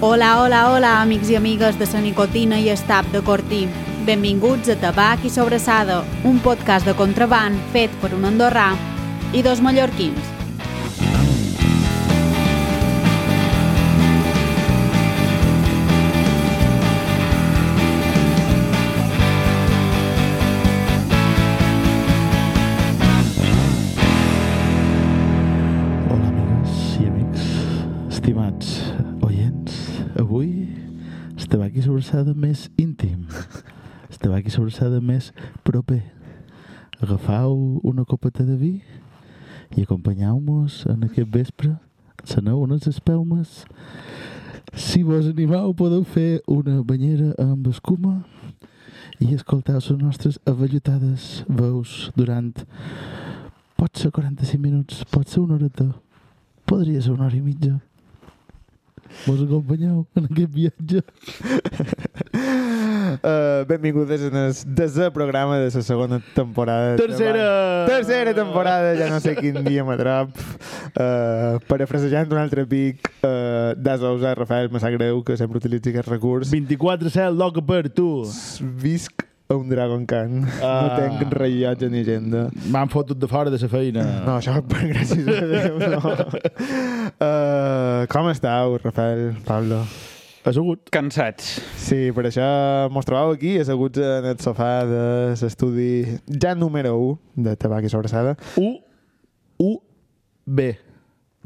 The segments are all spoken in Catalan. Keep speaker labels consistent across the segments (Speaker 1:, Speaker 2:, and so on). Speaker 1: Hola, hola, hola, amics i amigues de la nicotina i estap de Cortí. Benvinguts a Tabac i Sobressada, un podcast de contraband fet per un andorrà i dos mallorquins.
Speaker 2: Hola, amigues i amics, estimats oients. Avui estem aquí sobre l'alçada més íntim. Estem aquí sobre l'alçada més proper. Agafau una copeta de vi i acompanyeu-nos en aquest vespre. Seneu unes espelmes. Si vos animeu, podeu fer una banyera amb escuma i escoltar les nostres avellotades veus durant Pot ser 45 minuts, pot ser una horeta, podria ser una hora i mitja. Vos acompanyeu en aquest viatge? Ah.
Speaker 3: Uh, benvingudes en el desè programa de la segona temporada. de
Speaker 2: Tercera!
Speaker 3: Treball. Tercera temporada, ja no sé quin dia m'atrap. Uh, parafrasejant un altre pic uh, d'Asos a Rafael Massagreu, que sempre utilitza aquest recurs.
Speaker 2: 24 cel, loca per tu.
Speaker 3: Visc a un Dragon Khan. No
Speaker 2: Ah.
Speaker 3: tenc rellotge ni agenda.
Speaker 2: M'han fotut de fora de la feina.
Speaker 3: No, això per gràcies a Déu, no. Uh, com estàu, Rafael, Pablo?
Speaker 2: Assegut.
Speaker 4: Cansats.
Speaker 3: Sí, per això mos trobau aquí, asseguts en el sofà de l'estudi ja número 1 de Tabac i Sobrassada.
Speaker 2: U, U, B.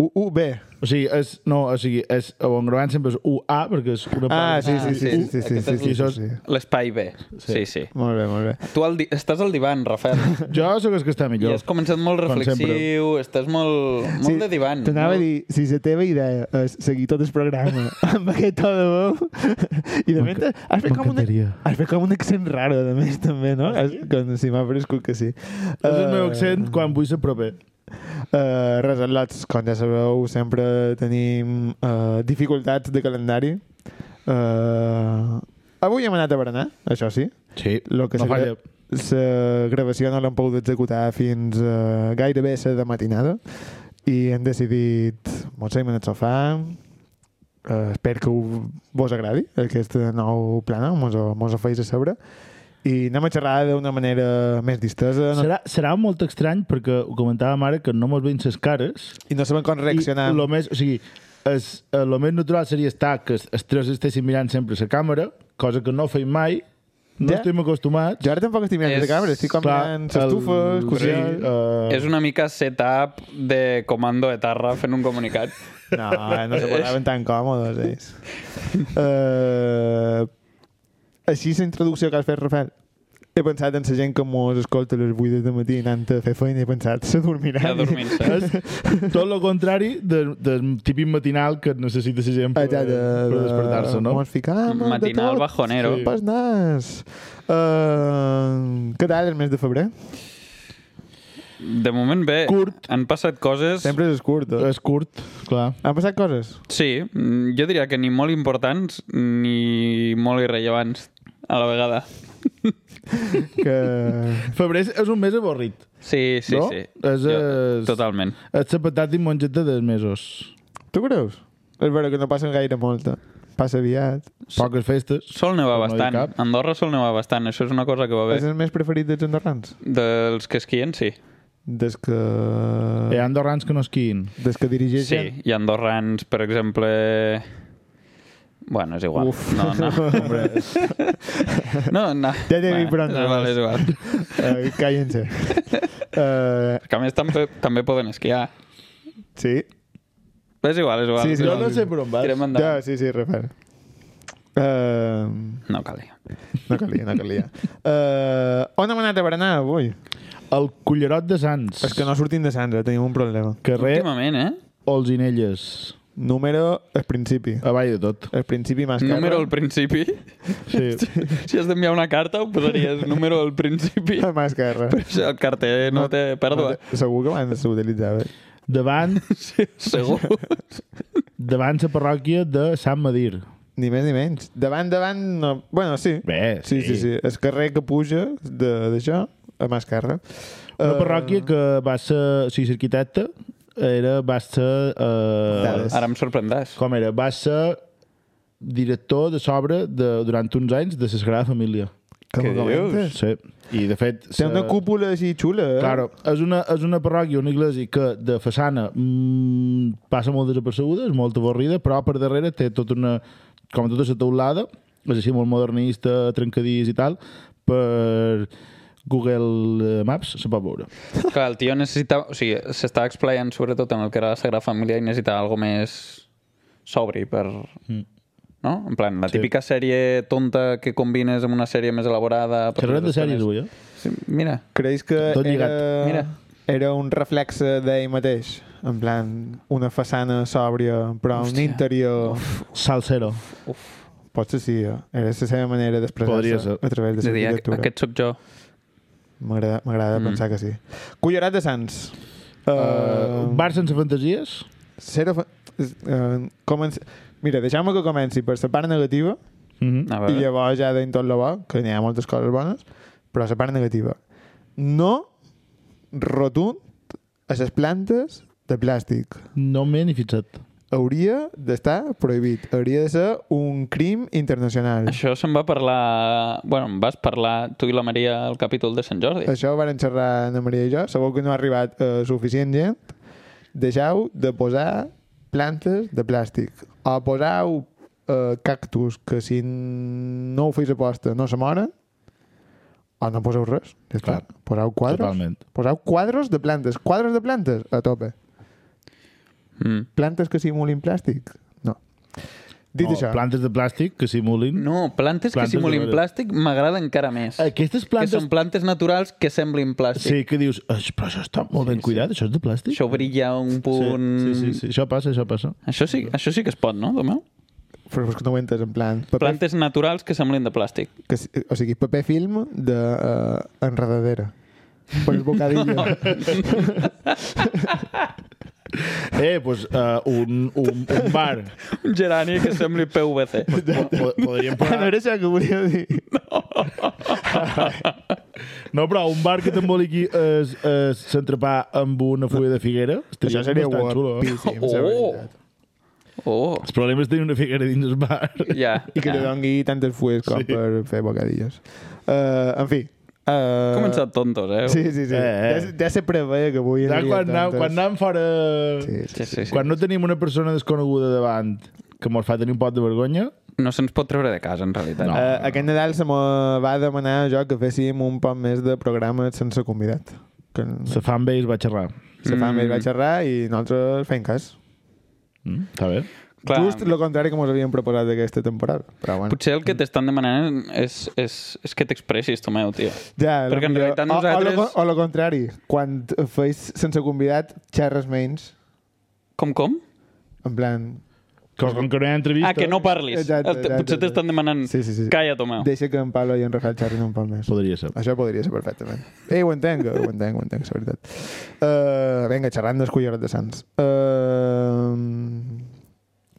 Speaker 3: UUB.
Speaker 2: O sigui, és, no, o sigui, és, a Bongroban sempre és UA, perquè és una
Speaker 3: Ah,
Speaker 2: part...
Speaker 3: sí, sí, sí, sí, sí, sí, sí, sí, sí,
Speaker 2: Aquestes-
Speaker 3: sí.
Speaker 4: L'espai B. Sí, sí.
Speaker 3: Molt bé, molt bé.
Speaker 4: Tu al di estàs al divan, Rafael.
Speaker 2: Jo sóc el que està
Speaker 4: I
Speaker 2: millor.
Speaker 4: has començat molt
Speaker 2: Com
Speaker 4: reflexiu, estàs molt, molt de divan.
Speaker 3: T'anava a
Speaker 4: molt...
Speaker 3: dir, si la teva idea és seguir tot el programa amb aquest to de veu, i de mentre has fet, com una,
Speaker 2: M'encantaria.
Speaker 3: has fet com un accent raro, a més, també, no? Has, com si m'ha prescut que sí. Eh,
Speaker 2: És el meu accent quan vull ser proper.
Speaker 3: Uh, res, atlots, com ja sabeu, sempre tenim uh, dificultats de calendari. Uh, avui hem anat a berenar, això sí.
Speaker 2: Sí,
Speaker 3: Lo que
Speaker 2: no
Speaker 3: se gra-
Speaker 2: falla.
Speaker 3: La gravació no l'hem pogut executar fins uh, gairebé a la de matinada i hem decidit mos en el sofà uh, espero que ho- vos agradi aquest nou plana mos, ho- mos ofereix a sobre i anem a xerrar d'una manera més distesa no,
Speaker 2: Serà, serà molt estrany perquè ho comentàvem ara que no mos veiem les cares
Speaker 3: i no sabem com reaccionar
Speaker 2: I lo més, o sigui, es, eh, lo més natural seria estar que es- els tres estiguessin mirant sempre la càmera, cosa que no feim mai, no
Speaker 3: Ja.
Speaker 2: ja. estem acostumats.
Speaker 3: Jo ara tampoc estic mirant
Speaker 4: És-
Speaker 3: és... la càmera, estic com mirant les estufes,
Speaker 2: Sí,
Speaker 3: cosint...
Speaker 2: eh,
Speaker 4: És una mica setup de comando de Tarra fent un comunicat.
Speaker 3: No, eh, no se posaven tan còmodes, ells. Uh, així la introducció que has fet, Rafael. He pensat en la gent que mos escolta a les 8 de matí anant a fer feina, he pensat, s'adormiran.
Speaker 4: Ja dormint-se.
Speaker 2: és tot el contrari de, del típic matinal que necessita la gent per,
Speaker 3: Allà de...
Speaker 2: per despertar-se, no?
Speaker 3: Mos ficam,
Speaker 4: Matinal
Speaker 3: de tot.
Speaker 4: bajonero.
Speaker 2: Sí.
Speaker 3: Pas nas. Uh, què tal el mes de febrer?
Speaker 4: De moment bé,
Speaker 2: Curt.
Speaker 4: han passat coses...
Speaker 3: Sempre és curt. Eh?
Speaker 2: És curt, clar.
Speaker 3: Han passat coses?
Speaker 4: Sí, mm, jo diria que ni molt importants ni molt irrellevants a la vegada.
Speaker 3: Que...
Speaker 2: Febrer és- és un mes avorrit.
Speaker 4: Sí, sí,
Speaker 2: No?
Speaker 4: sí.
Speaker 2: És, eh,
Speaker 4: Jo-
Speaker 2: és-
Speaker 4: Totalment.
Speaker 2: És la patata i mongeta dels mesos.
Speaker 3: Tu creus? És vera que no passen gaire molta. Passa aviat.
Speaker 2: Poques festes.
Speaker 4: Sol nevar
Speaker 2: No hi ha
Speaker 4: bastant.
Speaker 2: cap.
Speaker 4: Andorra sol nevar bastant. Això és una cosa que va bé.
Speaker 3: És el més preferit dels andorrans?
Speaker 4: Dels que esquien, sí.
Speaker 3: Des que...
Speaker 2: Hi ha Eh, andorrans que no esquiïn.
Speaker 3: Des que dirigeixen...
Speaker 4: Eh, Sí, i andorrans, per exemple... Bueno, és igual.
Speaker 3: Uf.
Speaker 4: No, no. no, no.
Speaker 3: Ja t'he dit prou,
Speaker 4: Bueno, és
Speaker 3: no.
Speaker 4: igual, és igual.
Speaker 3: Uh, Cállense. uh,
Speaker 4: Que a més també, també poden esquiar.
Speaker 3: sí.
Speaker 4: És igual, és igual.
Speaker 3: Sí, sí,
Speaker 2: Jo
Speaker 4: Tirem-
Speaker 2: no sé per on vas.
Speaker 4: Tirem endavant.
Speaker 3: Ja, sí, sí, Rafael. Uh,
Speaker 4: No cal.
Speaker 3: no calia, no calia. Uh, on hem anat a berenar avui?
Speaker 2: El Cullerot de Sants.
Speaker 3: És que no sortim de Sants, eh? tenim un problema.
Speaker 2: Carrer
Speaker 4: Últimament, eh?
Speaker 2: Olzinelles.
Speaker 3: Número al principi.
Speaker 2: A baix de tot.
Speaker 3: Al principi més esquerra.
Speaker 4: Número al principi.
Speaker 2: Sí.
Speaker 4: Si has d'enviar una carta, ho posaries número al principi.
Speaker 3: Mà esquerra.
Speaker 4: Però això, el carter no té pèrdua.
Speaker 3: No té- Segur que abans s'utilitzava.
Speaker 2: Davant,
Speaker 4: Sí, segur.
Speaker 2: davant la parròquia de Sant Madir.
Speaker 3: Ni més ni menys. Davant, davant... No... Bueno, sí.
Speaker 2: Bé,
Speaker 3: Sí, sí, sí. El carrer que puja de- d'això, a mà esquerra.
Speaker 2: Una
Speaker 3: Eh,
Speaker 2: parròquia que va ser... O sigui, l'arquitecte era, va ser... Eh,
Speaker 3: Dades.
Speaker 4: Ara em sorprendràs.
Speaker 2: com era? Va ser director de s'obra de- durant uns anys de la Sagrada Família.
Speaker 3: Que
Speaker 4: Què
Speaker 3: me comentes?
Speaker 2: Sí. I, de fet...
Speaker 3: Té
Speaker 2: la-
Speaker 3: una cúpula així xula, eh?
Speaker 2: Eh, Claro, és una, és una parròquia, una iglesia que de façana mmm, passa molt desapercebuda, és molt avorrida, però per darrere té tota una... com tota la teulada, és així molt modernista, trencadís i tal, per Google eh, Maps se pot veure.
Speaker 4: Clar, el tio necessitava... O sigui, s'estava explayant sobretot en el que era la Sagrada Família i necessitava algo més sobri per... Mm. No? En plan, la
Speaker 2: Sí.
Speaker 4: típica sèrie tonta que combines amb una sèrie més elaborada... per
Speaker 2: Xerrem de
Speaker 4: fer-les
Speaker 2: sèries
Speaker 4: tones.
Speaker 2: avui, eh?
Speaker 4: Sí, mira,
Speaker 3: Creus que
Speaker 2: Tot lligat.
Speaker 3: era...
Speaker 4: Mira.
Speaker 3: Era un reflex d'ell mateix, en plan, una façana sòbria, però un
Speaker 4: Hòstia.
Speaker 3: interior...
Speaker 2: Salsero.
Speaker 3: Potser sí, eh? era la seva manera
Speaker 2: Podria
Speaker 3: d'expressar-se
Speaker 2: ser.
Speaker 3: a través de
Speaker 4: de dir, "Aqu-
Speaker 3: l'arquitectura.
Speaker 4: aquest sóc jo.
Speaker 3: M'agrada m'agrada
Speaker 4: Mm.
Speaker 3: pensar que sí. Cullerat de Sants. Eh,
Speaker 2: Uh, bar sense fantasies?
Speaker 3: Zero... fa- eh, comença... Mira, deixeu-me que comenci per la part negativa
Speaker 2: Mm
Speaker 4: A
Speaker 3: i
Speaker 4: veure,
Speaker 3: llavors ja deim tot lo bo, que n'hi ha moltes coses bones, però la part negativa. No rotund a les plantes de plàstic.
Speaker 2: No m'he ni fixat.
Speaker 3: Hauria d'estar prohibit. Hauria de ser un crim internacional. Això,
Speaker 4: això se'n va parlar... Bueno, en vas parlar tu i la Maria al capítol de Sant Jordi.
Speaker 3: Això ho van xerrar Ana Maria i jo. Segur que no ha arribat eh, suficient gent. Deixeu de posar plantes de plàstic. O poseu eh, cactus que si no ho feis aposta no se moren. O no poseu res. Ja està.
Speaker 2: Clar.
Speaker 3: Poseu quadros.
Speaker 2: Totalment.
Speaker 3: Poseu quadros de plantes. Quadros de plantes a tope.
Speaker 4: Mm.
Speaker 3: Plantes que simulin plàstic. No. Dit
Speaker 2: O
Speaker 3: això...
Speaker 2: Plantes de plàstic que simulin...
Speaker 4: No,
Speaker 2: Plantes
Speaker 4: plantes, que
Speaker 2: de
Speaker 4: simulin
Speaker 2: veure.
Speaker 4: plàstic m'agrada encara més.
Speaker 2: Aquestes
Speaker 4: Que
Speaker 2: plantes...
Speaker 4: són plantes naturals que semblin plàstic.
Speaker 2: Sí, que dius, "Ai, però això està molt ben cuidat, això és de plàstic?
Speaker 4: Això brilla un punt...
Speaker 2: Sí, sí, sí, sí, això passa, això passa.
Speaker 4: Això sí, això sí que es pot, no, Domeu?
Speaker 3: Però és que no ho entes, en plan... Paper,
Speaker 4: Plantes naturals que semblin de plàstic.
Speaker 3: que, si- o sigui, paper film de uh, enredadera. Per el bocadillo. no,
Speaker 2: Eh, doncs eh, un, un, un bar.
Speaker 4: Un gerani que sembli PVC.
Speaker 2: Po- Podríem
Speaker 4: Ah,
Speaker 3: no
Speaker 2: parar...
Speaker 3: era això que volia dir.
Speaker 4: Oh,
Speaker 2: No, però un bar que t'emboliqui es- es- s'entrepà amb una fulla de figuera.
Speaker 3: això seria
Speaker 2: bastant xulo, eh?
Speaker 3: guapíssim,
Speaker 4: Oh!
Speaker 3: la veritat.
Speaker 4: Oh,
Speaker 2: El problema és tenir una figuera dins el bar.
Speaker 4: ja.
Speaker 3: I que li
Speaker 4: ja.
Speaker 3: doni tantes fulles com
Speaker 2: Sí.
Speaker 3: per fer bocadillos. Uh, en fi. Uh,
Speaker 4: Hem començat tontos, eh?
Speaker 3: Sí, sí, sí.
Speaker 2: Eh, eh.
Speaker 3: Ja, se- ja se preveia que avui
Speaker 2: Ja,
Speaker 3: aniria
Speaker 2: quan, anam,
Speaker 3: tantes.
Speaker 2: quan anam fora...
Speaker 3: Sí, sí.
Speaker 4: sí, sí, sí.
Speaker 2: Quan no tenim una persona desconeguda davant que mos fa tenir un pot de vergonya,
Speaker 4: No se'ns pot treure de casa, en realitat.
Speaker 2: No.
Speaker 3: Uh, aquest Nadal se me va demanar jo que féssim un poc més de programes sense convidat. Que
Speaker 2: se fan bé i es va xerrar.
Speaker 3: se fa
Speaker 4: Mm.
Speaker 3: més vaig xerrar i nosaltres fem cas.
Speaker 2: Mm? Està bé?
Speaker 4: Clar,
Speaker 3: Just Mm. el contrari que ens havien proposat d'aquesta temporada. Però bueno.
Speaker 4: potser el que t'estan demanant és, és, és que t'expressis, Tomeu, tio.
Speaker 3: Ja,
Speaker 4: Perquè en
Speaker 3: potser-
Speaker 4: realitat
Speaker 3: o-
Speaker 4: nosaltres-
Speaker 3: O, o, o el contrari, quan t- feis sense convidat, xerres menys.
Speaker 4: Com, com?
Speaker 3: En plan,
Speaker 2: Com, com que no hi ha entrevista...
Speaker 4: Ah, que no parlis.
Speaker 3: Exacte,
Speaker 4: El-
Speaker 3: exacte,
Speaker 4: Potser t'estan demanant...
Speaker 3: Sí, sí, sí.
Speaker 4: Calla, Tomeu.
Speaker 3: deixa que en Pablo i en Rafael xerrin un poc més.
Speaker 2: Podria ser.
Speaker 3: Això podria ser perfectament. Ei, ho entenc, ho entenc, ho entenc, és veritat. Uh, vinga, xerrant d'escollorat de Sants. Uh,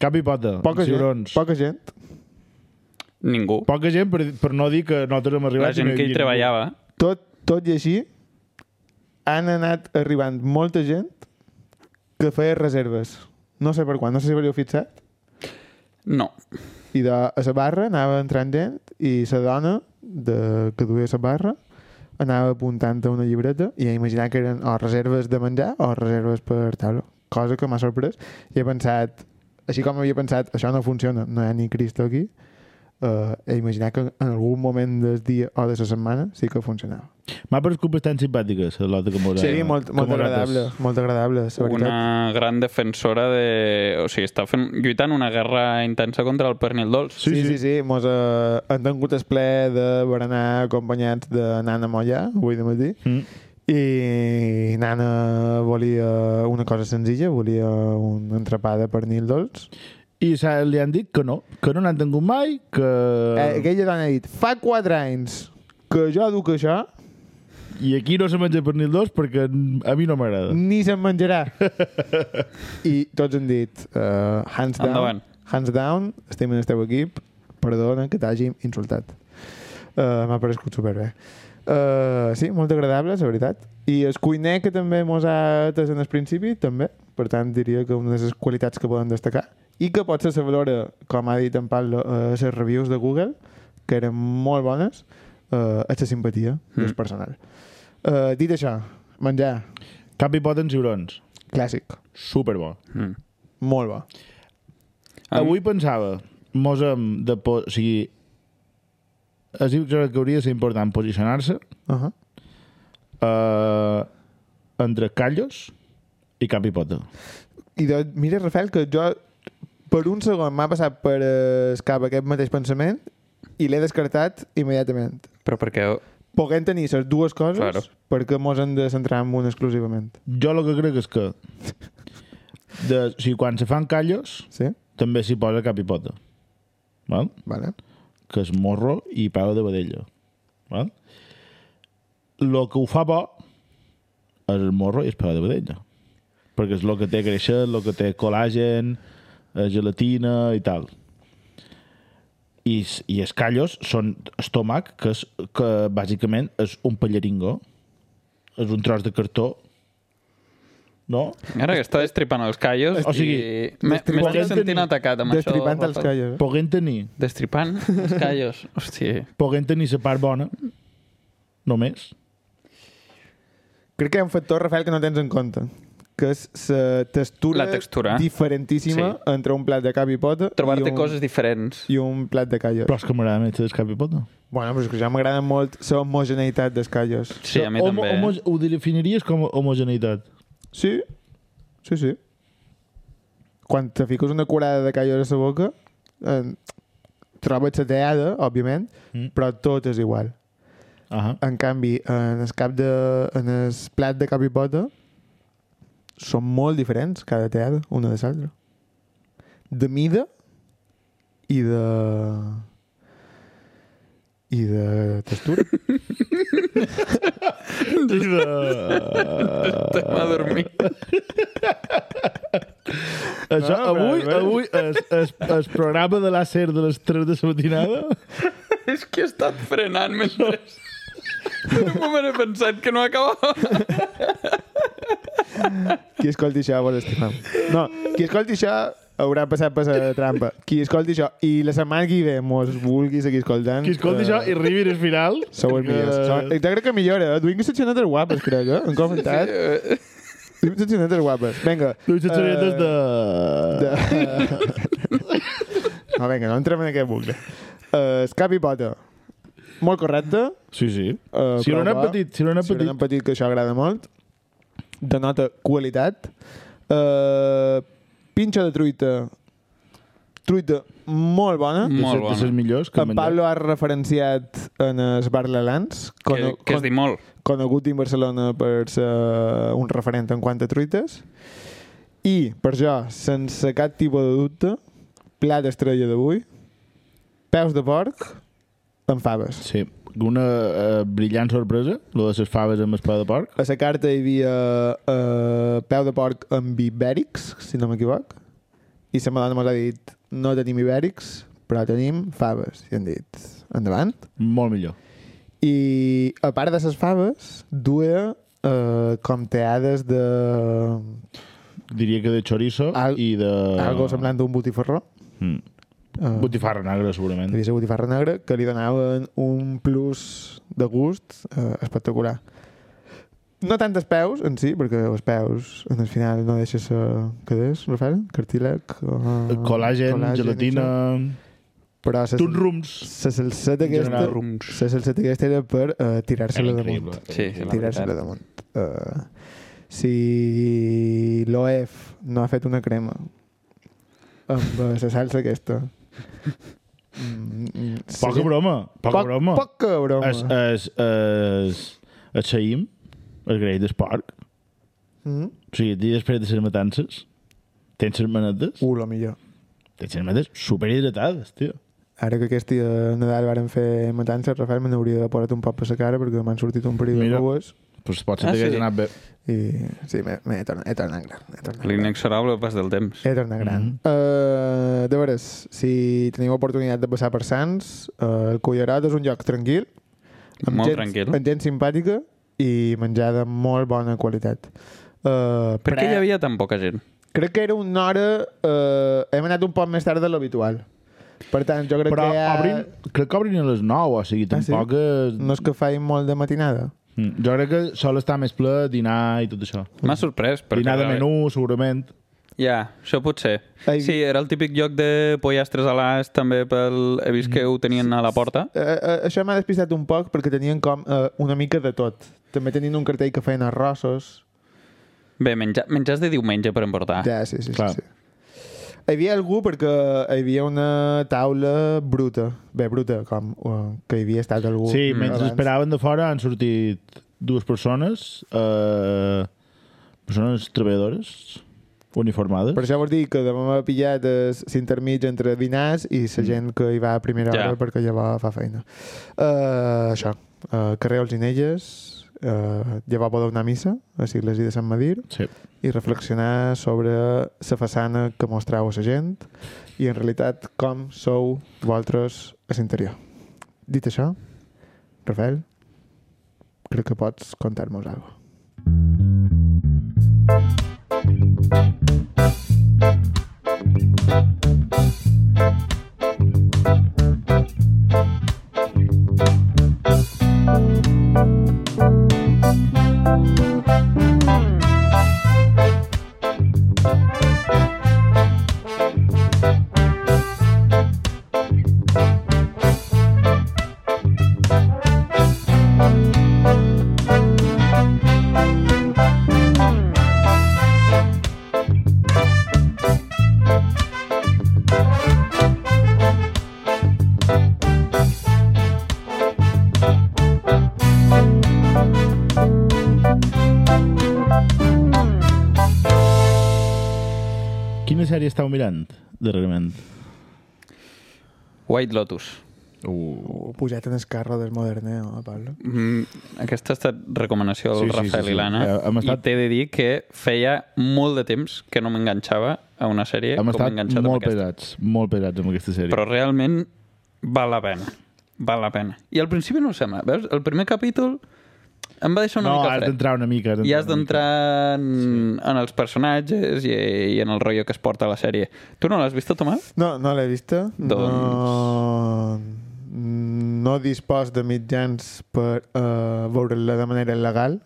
Speaker 2: Cap i pota,
Speaker 3: poca, gent,
Speaker 2: ciurons.
Speaker 3: poca gent.
Speaker 4: Ningú.
Speaker 2: Poca gent, per, per no dir que nosaltres hem arribat...
Speaker 4: La
Speaker 2: i
Speaker 4: gent
Speaker 2: no
Speaker 4: que hi
Speaker 2: havia
Speaker 4: treballava.
Speaker 3: Tot, tot i així, han anat arribant molta gent que feia reserves. No sé per quan, no sé si ho heu fixat.
Speaker 4: No.
Speaker 3: I de a la barra anava entrant gent i la dona de, que duia la barra anava apuntant a una llibreta i a imaginar que eren o reserves de menjar o reserves per taula. Cosa que m'ha sorprès. I he pensat, així com havia pensat, això no funciona, no hi ha ni Cristo aquí, eh, he imaginat que en algun moment del dia o de la setmana sí que funcionava.
Speaker 2: M'ha paregut bastant simpàtica, la lota que mos
Speaker 3: Sí, molt,
Speaker 2: que
Speaker 3: molt
Speaker 2: mos
Speaker 3: agradable,
Speaker 2: rates.
Speaker 3: molt agradable, la veritat.
Speaker 4: una gran defensora de... O sigui, està fent, lluitant una guerra intensa contra el pernil dolç.
Speaker 3: Sí, sí, sí, sí. Mos, eh, hem tingut el ple de berenar acompanyats de Nana Mollà, avui de matí,
Speaker 2: Mm.
Speaker 3: I Nana volia una cosa senzilla, volia un entrepà de pernil dolç.
Speaker 2: I s'ha- li han dit que no, que no n'han tingut mai, que...
Speaker 3: Eh, aquella dona ha dit, fa 4 anys que jo duc això,
Speaker 2: I aquí no se menja pernil dolç perquè a mi no m'agrada.
Speaker 3: ni se'n menjarà. I tots han dit, eh, hands down,
Speaker 4: Endavant.
Speaker 3: hands down, estem en el teu equip, perdona que t'hàgim insultat. Eh, M'ha parescut superbé. Eh, sí, molt agradable, la veritat. I el cuiner que també mos ha atès en el principi, també. Per tant, diria que una de les qualitats que podem destacar. i que potser se valora, com ha dit en Pablo, eh, les reviews de Google, que eren molt bones, eh, és la simpatia mm. del personal. Eh, dit això, menjar,
Speaker 2: Cap i pot en ciurons.
Speaker 3: clàssic,
Speaker 2: Superbo.
Speaker 4: Mm.
Speaker 3: molt bo.
Speaker 4: A mi-
Speaker 2: Avui pensava, mos hem de... Po o sigui, es diu que hauria de ser important posicionar-se
Speaker 3: Uh -huh.
Speaker 2: eh, entre callos i cap i pota.
Speaker 3: I de, mira, Rafael, que jo per un segon m'ha passat per eh, cap aquest mateix pensament i l'he descartat immediatament.
Speaker 4: Però perquè...
Speaker 3: Poguem tenir les dues coses
Speaker 4: Claro.
Speaker 3: perquè mos hem de centrar en una exclusivament.
Speaker 2: Jo el que crec és que de, o sigui, quan se fan callos
Speaker 3: Sí?
Speaker 2: també s'hi posa cap i pota. Val?
Speaker 3: Vale.
Speaker 2: que és morro i peu de vedella. Val? Lo que ho fa bo és el morro i el peu de vedella. Perquè és el que té greixet, el que té col·làgen, eh, gelatina i tal. I, s- i els callos són estómac, que, és, que bàsicament és un pallaringo. És un tros de cartó. No?
Speaker 4: Ara que està destripant els callos
Speaker 2: O
Speaker 4: o
Speaker 2: sigui,
Speaker 4: sigui, i me- m'estic
Speaker 2: destripant-
Speaker 4: sentint atacat amb
Speaker 3: Destripant
Speaker 4: això.
Speaker 3: els
Speaker 4: Rafael.
Speaker 3: callos. eh?
Speaker 2: Poguem tenir,
Speaker 4: Destripant els callos. Hòstia.
Speaker 2: poguem tenir la part bona, només.
Speaker 3: Crec que hi ha un factor, Rafael, que no tens en compte que és la textura,
Speaker 4: La textura. eh?
Speaker 3: diferentíssima
Speaker 4: Sí.
Speaker 3: entre un plat de cap i pota i
Speaker 4: Trobar-te
Speaker 3: un,
Speaker 4: coses diferents.
Speaker 3: i un plat de callos.
Speaker 2: Però és que m'agrada més el cap i pota.
Speaker 3: Bueno, però és que ja m'agrada molt la homogeneïtat dels callos.
Speaker 4: Sí, a mi
Speaker 2: Homo-
Speaker 4: també. eh?
Speaker 2: homo- ho definiries com a homogeneïtat.
Speaker 3: Sí, sí, sí. Quan te fiques una curada de callos a la boca, eh, trobes la teada, òbviament,
Speaker 2: Mm.
Speaker 3: mm. però tot és igual.
Speaker 2: Ah
Speaker 3: En canvi, en el, cap de, en el plat de cap i pota són molt diferents cada teada, una de l'altra. De mida i de... i de textura.
Speaker 4: Estem a dormir.
Speaker 2: Això,
Speaker 3: No, però
Speaker 2: avui,
Speaker 3: bé.
Speaker 2: avui es, es, es programa de l'àcer de les 3 de la matinada
Speaker 4: És que he estat frenant mentre... En un moment he pensat que no acabava.
Speaker 3: Qui escolti això vos estimem. No, qui escolti això haurà passat per la trampa. Qui escolti això i la setmana que ve mos vulgui seguir escoltant... eh,
Speaker 2: qui escolti això i arribi al final
Speaker 3: Sou els
Speaker 2: que-
Speaker 3: millors. Sou- Jo crec que millora. eh? Duim seccionetes guapes, crec, eh? En comentat.
Speaker 4: Eh,
Speaker 3: Duim seccionetes guapes. Vinga.
Speaker 2: Dues xatxorietes
Speaker 3: eh,
Speaker 2: de... de...
Speaker 3: No, vinga, no entrem en aquest bucle. Uh, escap i pota. Molt correcte.
Speaker 2: Sí, sí.
Speaker 3: Uh,
Speaker 2: Si no n'ha petit, si no n'ha
Speaker 3: Si no
Speaker 2: petit.
Speaker 3: n'ha petit, que això agrada molt. Denota qualitat. Uh, pinxa de truita. Truita molt bona.
Speaker 4: Mm.
Speaker 2: de,
Speaker 4: Molt
Speaker 2: ser- de
Speaker 4: bona.
Speaker 2: ser millors que
Speaker 3: en Pablo ha referenciat en els Barlalans,
Speaker 4: que,
Speaker 3: cono
Speaker 4: que es diu molt.
Speaker 3: conegut en Barcelona per ser eh, un referent en quant a truites. I, per jo, sense cap tipus de dubte, plat estrella d'avui, peus de porc amb faves.
Speaker 2: Sí, una eh, brillant sorpresa, lo de les faves amb espada de porc.
Speaker 3: A la carta hi havia eh, peu de porc amb ibèrics, si no m'equivoc, i la madona m'ha dit no tenim ibèrics, però tenim faves. I han dit, endavant.
Speaker 2: Molt millor.
Speaker 3: I a part de les faves, duia eh, com teades de...
Speaker 2: Diria que de chorizo
Speaker 3: Al-
Speaker 2: i de...
Speaker 3: Algo semblant a un botifarró.
Speaker 2: Mm.
Speaker 3: Eh,
Speaker 2: Botifarra negra, segurament.
Speaker 3: Devia ser botifarra negra, que li donaven un plus de gust eh, espectacular. No tant els peus en si, perquè els peus en el final no deixa ser... Què és, Rafael? Cartíleg? Eh,
Speaker 2: Col·làgen, gelatina...
Speaker 3: i això. Però ses,
Speaker 2: Tuns rums.
Speaker 3: la salseta
Speaker 2: En general,
Speaker 3: aquesta...
Speaker 4: rums.
Speaker 3: La salseta aquesta era per eh, tirar-se-la damunt.
Speaker 4: Sí, sí, la
Speaker 3: Tirar-se-la
Speaker 4: veritat.
Speaker 3: damunt. Eh, si l'OEF no ha fet una crema amb eh, la salsa aquesta... Mm, mm,
Speaker 2: Poca
Speaker 3: seria-
Speaker 2: broma, poca
Speaker 3: Poc-
Speaker 2: broma.
Speaker 3: Poca broma.
Speaker 2: Es, eh, es, es, es Chaim, el grell d'Esparc,
Speaker 3: Mm.
Speaker 2: o sigui, dia després de les matances, tens les manetes,
Speaker 3: Uh, lo millor.
Speaker 2: tens les manetes superhidratades, tio.
Speaker 3: Ara que aquest dia de Nadal varen fer matances, Rafael, me n'hauria de posar un pop a la cara perquè m'han sortit un període de
Speaker 2: Mira.
Speaker 3: bobes
Speaker 2: Pues pot ser
Speaker 4: Ah,
Speaker 2: que hagués
Speaker 4: sí?
Speaker 2: anat bé.
Speaker 3: i sí, m'he- m'he tornat, he tornat gran. He tornat gran.
Speaker 4: L'inexorable pas del temps.
Speaker 3: He tornat gran.
Speaker 4: Mhm.
Speaker 3: Mm -hmm. uh, de veres, si teniu oportunitat de passar per Sants, uh, el Cullerot és un lloc tranquil,
Speaker 4: Molt
Speaker 3: gent,
Speaker 4: tranquil.
Speaker 3: amb gent simpàtica i menjar de molt bona qualitat. Uh,
Speaker 4: Per què hi havia tan poca gent?
Speaker 3: Crec que era una hora... Eh, hem anat un poc més tard de l'habitual. Per tant, jo crec
Speaker 2: Però
Speaker 3: que ja...
Speaker 2: obrin, crec que obrin a les 9, o sigui,
Speaker 3: Ah, sí?
Speaker 2: tampoc... és-
Speaker 3: No és que faim molt de matinada.
Speaker 2: Mm, Jo crec que sol estar més ple dinar i tot això.
Speaker 4: M'ha sorprès. perquè-
Speaker 2: Dinar de menú, segurament.
Speaker 4: Ja, això potser.
Speaker 3: Ai.
Speaker 4: Sí, era el típic lloc de pollastres a l'as, també pel... he vist que
Speaker 2: Mm.
Speaker 4: ho tenien a la porta.
Speaker 3: Eh, eh, això m'ha despistat un poc perquè tenien com eh, una mica de tot. També tenien un cartell que feien arrossos.
Speaker 4: Bé, menjar, menjars de diumenge per emportar.
Speaker 3: Ja, sí, sí, sí,
Speaker 2: Ah. clar.
Speaker 3: sí. Hi havia algú perquè hi havia una taula bruta. Bé, bruta, com eh, que hi havia estat algú
Speaker 2: Sí,
Speaker 3: Mm. abans.
Speaker 2: mentre esperaven de fora han sortit dues persones, eh, persones treballadores, uniformades.
Speaker 3: Per això vols dir que demà m'ha pillat el s'intermig entre dinars i
Speaker 2: Mm.
Speaker 3: la gent que hi va a primera
Speaker 4: Ja.
Speaker 3: hora perquè llavors fa feina. Uh, això, uh, carrer Olzinelles, uh, llavors podeu anar a missa, a Sigles i de Sant Madir,
Speaker 2: Sí.
Speaker 3: i reflexionar sobre la façana que mostrau a la gent i en realitat com sou vosaltres a l'interior. Dit això, Rafael, crec que pots contar-nos alguna cosa.
Speaker 2: Quina sèrie estàu mirant, darrerament?
Speaker 4: White Lotus.
Speaker 2: Uh.
Speaker 3: Oh, pujat en el carro del moderneo, eh, Pablo.
Speaker 4: Mm, aquesta ha estat recomanació del
Speaker 2: Sí,
Speaker 4: sí,
Speaker 2: sí,
Speaker 4: Rafael
Speaker 2: sí, sí.
Speaker 4: i l'Anna.
Speaker 2: Eh, hem estat-
Speaker 4: I t'he de dir que feia molt de temps que no m'enganxava a una
Speaker 2: Hem
Speaker 4: sèrie Eh, com m'he
Speaker 2: estat
Speaker 4: enganxat amb
Speaker 2: molt
Speaker 4: aquesta.
Speaker 2: pesats, molt pesats amb aquesta sèrie.
Speaker 4: Però realment val la pena. Val la pena. I al principi no ho sembla. Veus? El primer capítol em va deixar una
Speaker 2: no,
Speaker 4: mica
Speaker 2: has
Speaker 4: fred.
Speaker 2: d'entrar una mica.
Speaker 4: I has
Speaker 2: una mica.
Speaker 4: d'entrar en, en els personatges i, i en el rotllo que es porta la sèrie. Tu no l'has vist, Tomà?
Speaker 3: No, no l'he vista.
Speaker 4: Doncs-
Speaker 3: No, no dispos de mitjans per uh, veure-la de manera legal.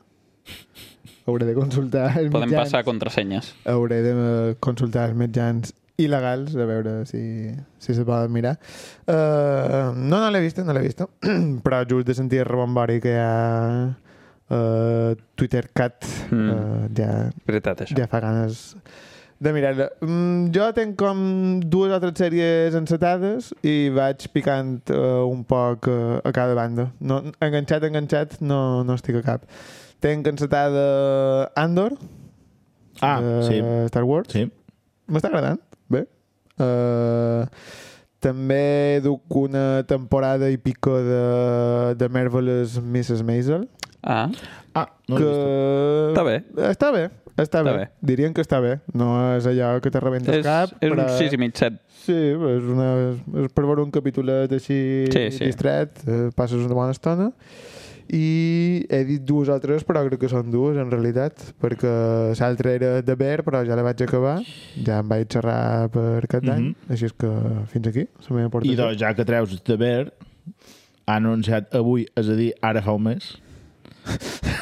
Speaker 3: Hauré de consultar els
Speaker 4: Podem
Speaker 3: mitjans.
Speaker 4: passar contrasenyes.
Speaker 3: Hauré de eh, consultar els mitjans il·legals a veure si, si se poden mirar. Uh, no, no l'he vista, no l'he vista. Però just de sentir el rebombori que hi ha uh, Twitter Cat
Speaker 4: Mm.
Speaker 3: uh, ja
Speaker 4: Veritat, això.
Speaker 3: ja fa ganes de mirar-la. Mm, jo tenc com dues o tres sèries encetades i vaig picant eh, un poc eh, a cada banda. No, enganxat, enganxat, no, no estic a cap. Tenc encetada Andor,
Speaker 2: Ah,
Speaker 3: de
Speaker 2: sí.
Speaker 3: Star Wars.
Speaker 2: Sí.
Speaker 3: M'està agradant, bé. Eh, també duc una temporada i pico de, de Marvelous Mrs. Maisel
Speaker 4: Ah,
Speaker 2: Ah, no
Speaker 3: que...
Speaker 2: l'he vist.
Speaker 4: està bé.
Speaker 3: Està bé, està, està bé.
Speaker 4: bé.
Speaker 3: bé. Dirien que està bé. No és allò que te rebenta el
Speaker 4: És,
Speaker 3: cap.
Speaker 4: és un 6 i mig, 7.
Speaker 3: Sí, és, una, és per veure un capítolet així
Speaker 4: Sí, sí.
Speaker 3: distret, eh, passes una bona estona. I he dit dues o tres, però crec que són dues, en realitat, perquè l'altra era de Ver, però ja la vaig acabar. Ja em vaig xerrar per cap d'any,
Speaker 2: Mhm.
Speaker 3: així és que fins aquí, la meva
Speaker 2: I
Speaker 3: aportació.
Speaker 2: doncs, ja que treus de ver, han anunciat avui, és a dir, ara fa un mes,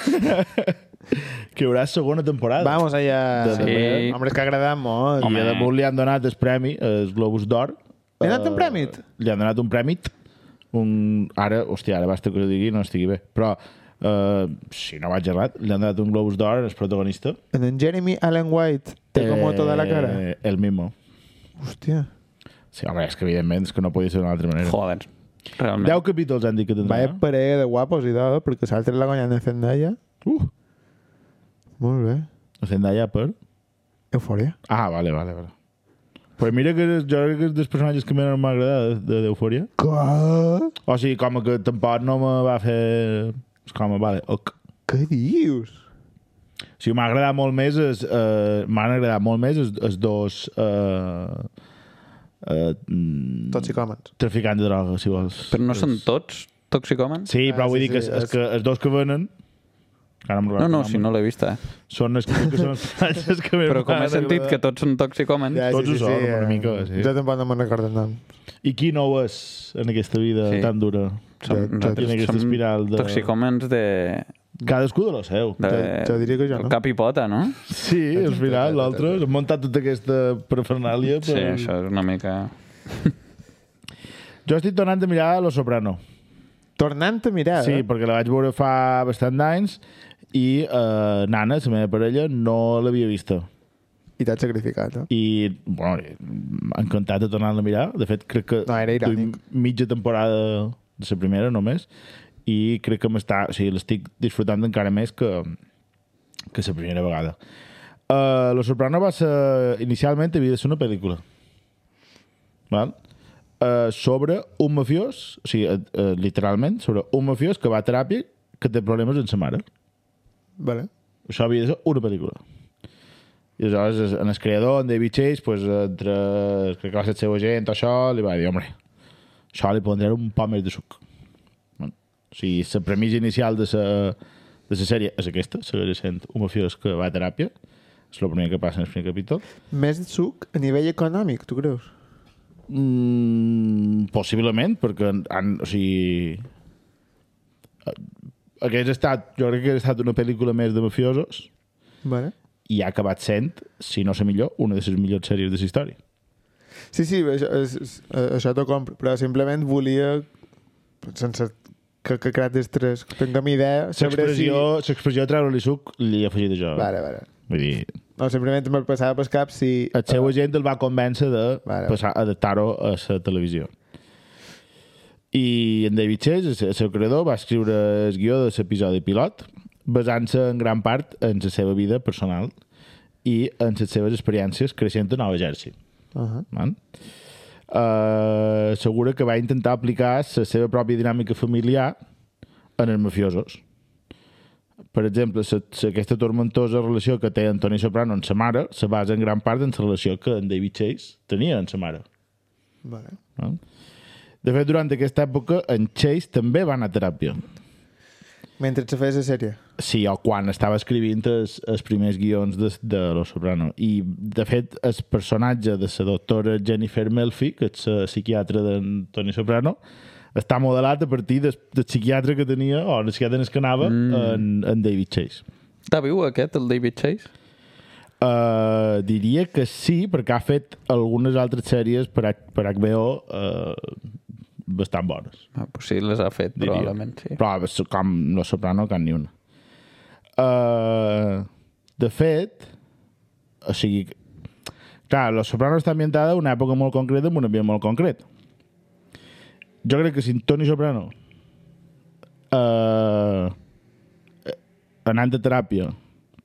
Speaker 2: que hi haurà segona temporada.
Speaker 3: Vamos allà.
Speaker 2: De- de
Speaker 4: Sí. Bear.
Speaker 3: Home, és que ha agradat molt.
Speaker 2: I a damunt li han donat el premi, el Globus d'Or.
Speaker 3: Li han donat
Speaker 2: Eh,
Speaker 3: un prèmit?
Speaker 2: Li han donat un prèmit. Un... Ara, hòstia, ara basta que ho digui, no estigui bé. Però, eh, si no vaig errat, li han donat un Globus d'Or al protagonista.
Speaker 3: En en Jeremy Allen White té com a toda la cara.
Speaker 2: Eh, el mismo.
Speaker 3: Hòstia.
Speaker 2: Sí, home, és que evidentment és que no podia ser d'una altra manera.
Speaker 4: Joder, realment.
Speaker 2: 10 capítols han dit que tindrà.
Speaker 3: Vaya parella de guapos i d'or, perquè l'altre la guanyant a Zendaya.
Speaker 2: no? Uh,
Speaker 3: Molt bé.
Speaker 2: la Zendaya per...
Speaker 3: Eufòria.
Speaker 2: Ah, vale, vale, vale. Però mira que és- jo crec que és dels personatges que menys m'ha agradat de- d'Eufòria.
Speaker 3: Que...
Speaker 2: O sigui, com que tampoc no me va fer... És com, vale, ok.
Speaker 3: Què dius?
Speaker 2: O sigui, m'ha agradat molt més es, eh, m'han agradat molt més els, els dos eh, eh, mm,
Speaker 3: Toxicòmens.
Speaker 2: traficants de droga, si vols.
Speaker 4: Però no
Speaker 2: Els-
Speaker 4: són tots toxicòmens?
Speaker 2: Sí,
Speaker 3: Ah,
Speaker 2: però vull
Speaker 3: sí,
Speaker 2: dir que,
Speaker 3: sí,
Speaker 2: els,
Speaker 3: és-
Speaker 2: els, que els dos que venen Ara em
Speaker 4: No,
Speaker 2: recordo
Speaker 4: no,
Speaker 2: el nom.
Speaker 4: si no l'he vista.
Speaker 2: Són els que són els personatges que més
Speaker 4: Però com he
Speaker 2: m'agrada.
Speaker 4: sentit que tots són toxicòmens,
Speaker 2: Ja. Tots ho són, una
Speaker 3: eh,
Speaker 2: mica, sí.
Speaker 3: Jo tampoc no me'n recordo el nom.
Speaker 2: I qui no ho és en aquesta vida
Speaker 4: Sí.
Speaker 2: tan dura?
Speaker 4: som,
Speaker 3: Ja, ja,
Speaker 4: nosaltres
Speaker 2: tiene aquesta
Speaker 4: som
Speaker 2: espiral de-
Speaker 4: toxicòmens de,
Speaker 2: Cadascú de lo seu.
Speaker 4: de
Speaker 3: Jo- jo diria que jo no.
Speaker 4: cap i pota, no?
Speaker 2: Sí, al final, l'altre. Hem muntat tota aquesta parafernàlia.
Speaker 4: Sí,
Speaker 2: Per...
Speaker 4: això és una mica...
Speaker 2: Jo estic tornant a mirar Lo Soprano.
Speaker 3: Tornant a mirar,
Speaker 2: Sí,
Speaker 3: eh?
Speaker 2: perquè la vaig veure fa bastant d'anys i eh, Nana, la meva parella, no l'havia vista.
Speaker 3: i t'has sacrificat, eh?
Speaker 2: I, bueno, eh, encantat de tornar-la a mirar. De fet, crec que
Speaker 3: No, era irònic.
Speaker 2: duim mitja temporada de la primera només i crec que m'està... O sigui, l'estic disfrutant encara més que, que la primera vegada. Uh, Lo Soprano va ser... Inicialment havia de ser una pel·lícula. Val? Uh, sobre un mafiós, o sigui, uh, uh, literalment, sobre un mafiós que va a teràpia que té problemes amb sa mare.
Speaker 3: Vale.
Speaker 2: Això havia de ser una pel·lícula. I aleshores, es- en el creador, en David Chase, pues, entre, crec que va ser el seu agent, o això, li va dir, home, això li pondré un poc més de suc. Bueno, o sigui, la premissa inicial de la, de la sèrie és aquesta, segueix sent un mafiós que va a teràpia, és el primer que passa en el primer capítol.
Speaker 3: Més suc a nivell econòmic, tu creus?
Speaker 2: Mm, possiblement, perquè han, o sigui... eh, Hagués estat, jo crec que hagués estat una pel·lícula més de mafiosos,
Speaker 3: Vale.
Speaker 2: i ha acabat sent, si no sé millor, una de les millors sèries de la història.
Speaker 3: Sí, sí, això, és, és, eh, això t'ho compro, però simplement volia, sense que, que Crates 3 tinguem idea, saber si...
Speaker 2: L'expressió si... treure-li suc li he afegit jo. eh?
Speaker 3: Vale, vale.
Speaker 2: Vull dir,
Speaker 3: No, simplement me'l passava pel cap si...
Speaker 2: el seu agent el va convèncer de
Speaker 3: Eh, Vale.
Speaker 2: vale. passar, adaptar-ho a la televisió. I en David Chase, el seu creador, va escriure el guió de l'episodi pilot, basant-se en gran part en la seva vida personal i en les seves experiències creixent a Nova Jersey.
Speaker 3: Uh -huh.
Speaker 2: Man. Uh, assegura que va intentar aplicar la seva pròpia dinàmica familiar en els mafiosos. Per exemple, se, se, aquesta tormentosa relació que té Antoni Soprano amb sa mare se basa en gran part en la relació que en David Chase tenia amb sa mare.
Speaker 3: Vale.
Speaker 2: No? De fet, durant aquesta època, en Chase també va anar a teràpia.
Speaker 3: Mentre se feia la sèrie.
Speaker 2: Sí, o quan estava escrivint els, els primers guions de, de Los Soprano. I, de fet, el personatge de la doctora Jennifer Melfi, que és la psiquiatra d'Antoni Soprano, està modelat a partir del, del psiquiatre que tenia, o el psiquiatre en el que anava, mm. en, en David Chase.
Speaker 4: Està viu aquest, el David Chase?
Speaker 2: Uh, diria que sí, perquè ha fet algunes altres sèries per, H- per HBO uh, bastant bones.
Speaker 4: Ah, pues sí, les ha fet,
Speaker 2: diria.
Speaker 4: probablement, sí.
Speaker 2: Però ah, so- com Los Soprano, cap ni una. Uh, de fet, o sigui, clar, Los Soprano està ambientada en una època molt concreta, en un ambient molt concret. Jo crec que si en Toni Soprano uh, anant a teràpia,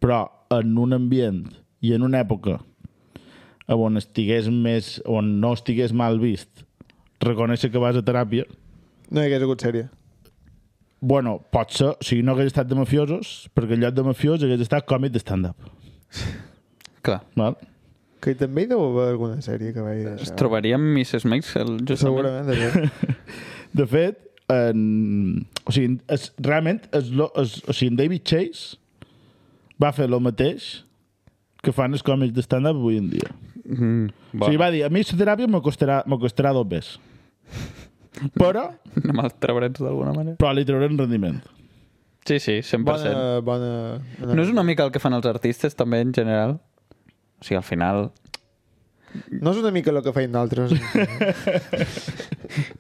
Speaker 2: però en un ambient i en una època on estigués més, on no estigués mal vist, reconèixer que vas a teràpia,
Speaker 3: No hi hagués hagut sèrie.
Speaker 2: Bueno, pot ser, o sigui, no hagués estat de mafiosos, perquè en lloc de mafiós hagués estat còmic de stand-up.
Speaker 4: Clar.
Speaker 2: Val?
Speaker 3: Que també hi deu haver alguna sèrie que vagi
Speaker 4: Es
Speaker 3: d'això.
Speaker 4: trobaríem Mrs. Maisel, justament.
Speaker 3: Segurament, també.
Speaker 2: De fet, en... o sigui, es, realment, es, lo- es, o sigui, en David Chase va fer el mateix que fan els còmics de stand-up avui en dia.
Speaker 4: Mm,
Speaker 2: Bon. O sigui, va dir, a mi la teràpia me costarà, me costarà dos bes. Però,
Speaker 4: Anem als trebrets d'alguna manera.
Speaker 2: però li trauré un rendiment.
Speaker 4: Sí, sí, 100%. Bona...
Speaker 3: Bona, bona...
Speaker 4: No és una mica el que fan els artistes, també, en general? O sigui, al final...
Speaker 3: no és una mica el que feien d'altres.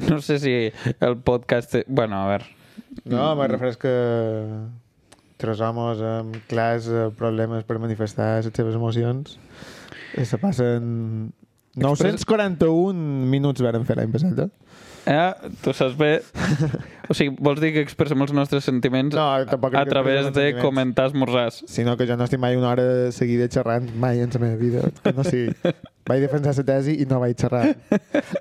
Speaker 4: No sé si el podcast... Bueno, a veure...
Speaker 3: No, me refereix que tres homes amb clars eh, problemes per manifestar les seves emocions eh, se passen 941 minuts varen fer l'any passat, eh?
Speaker 4: Eh? Tu saps bé... O sigui, vols dir que expressem els nostres sentiments
Speaker 3: No, tampoc crec
Speaker 4: Doncs a
Speaker 3: que
Speaker 4: través
Speaker 3: expressem els
Speaker 4: de
Speaker 3: sentiments.
Speaker 4: comentar esmorzars?
Speaker 3: Sinó que jo no estic mai una hora seguida xerrant mai en la meva vida. Que no sé, vaig defensar la tesi i no vaig xerrar.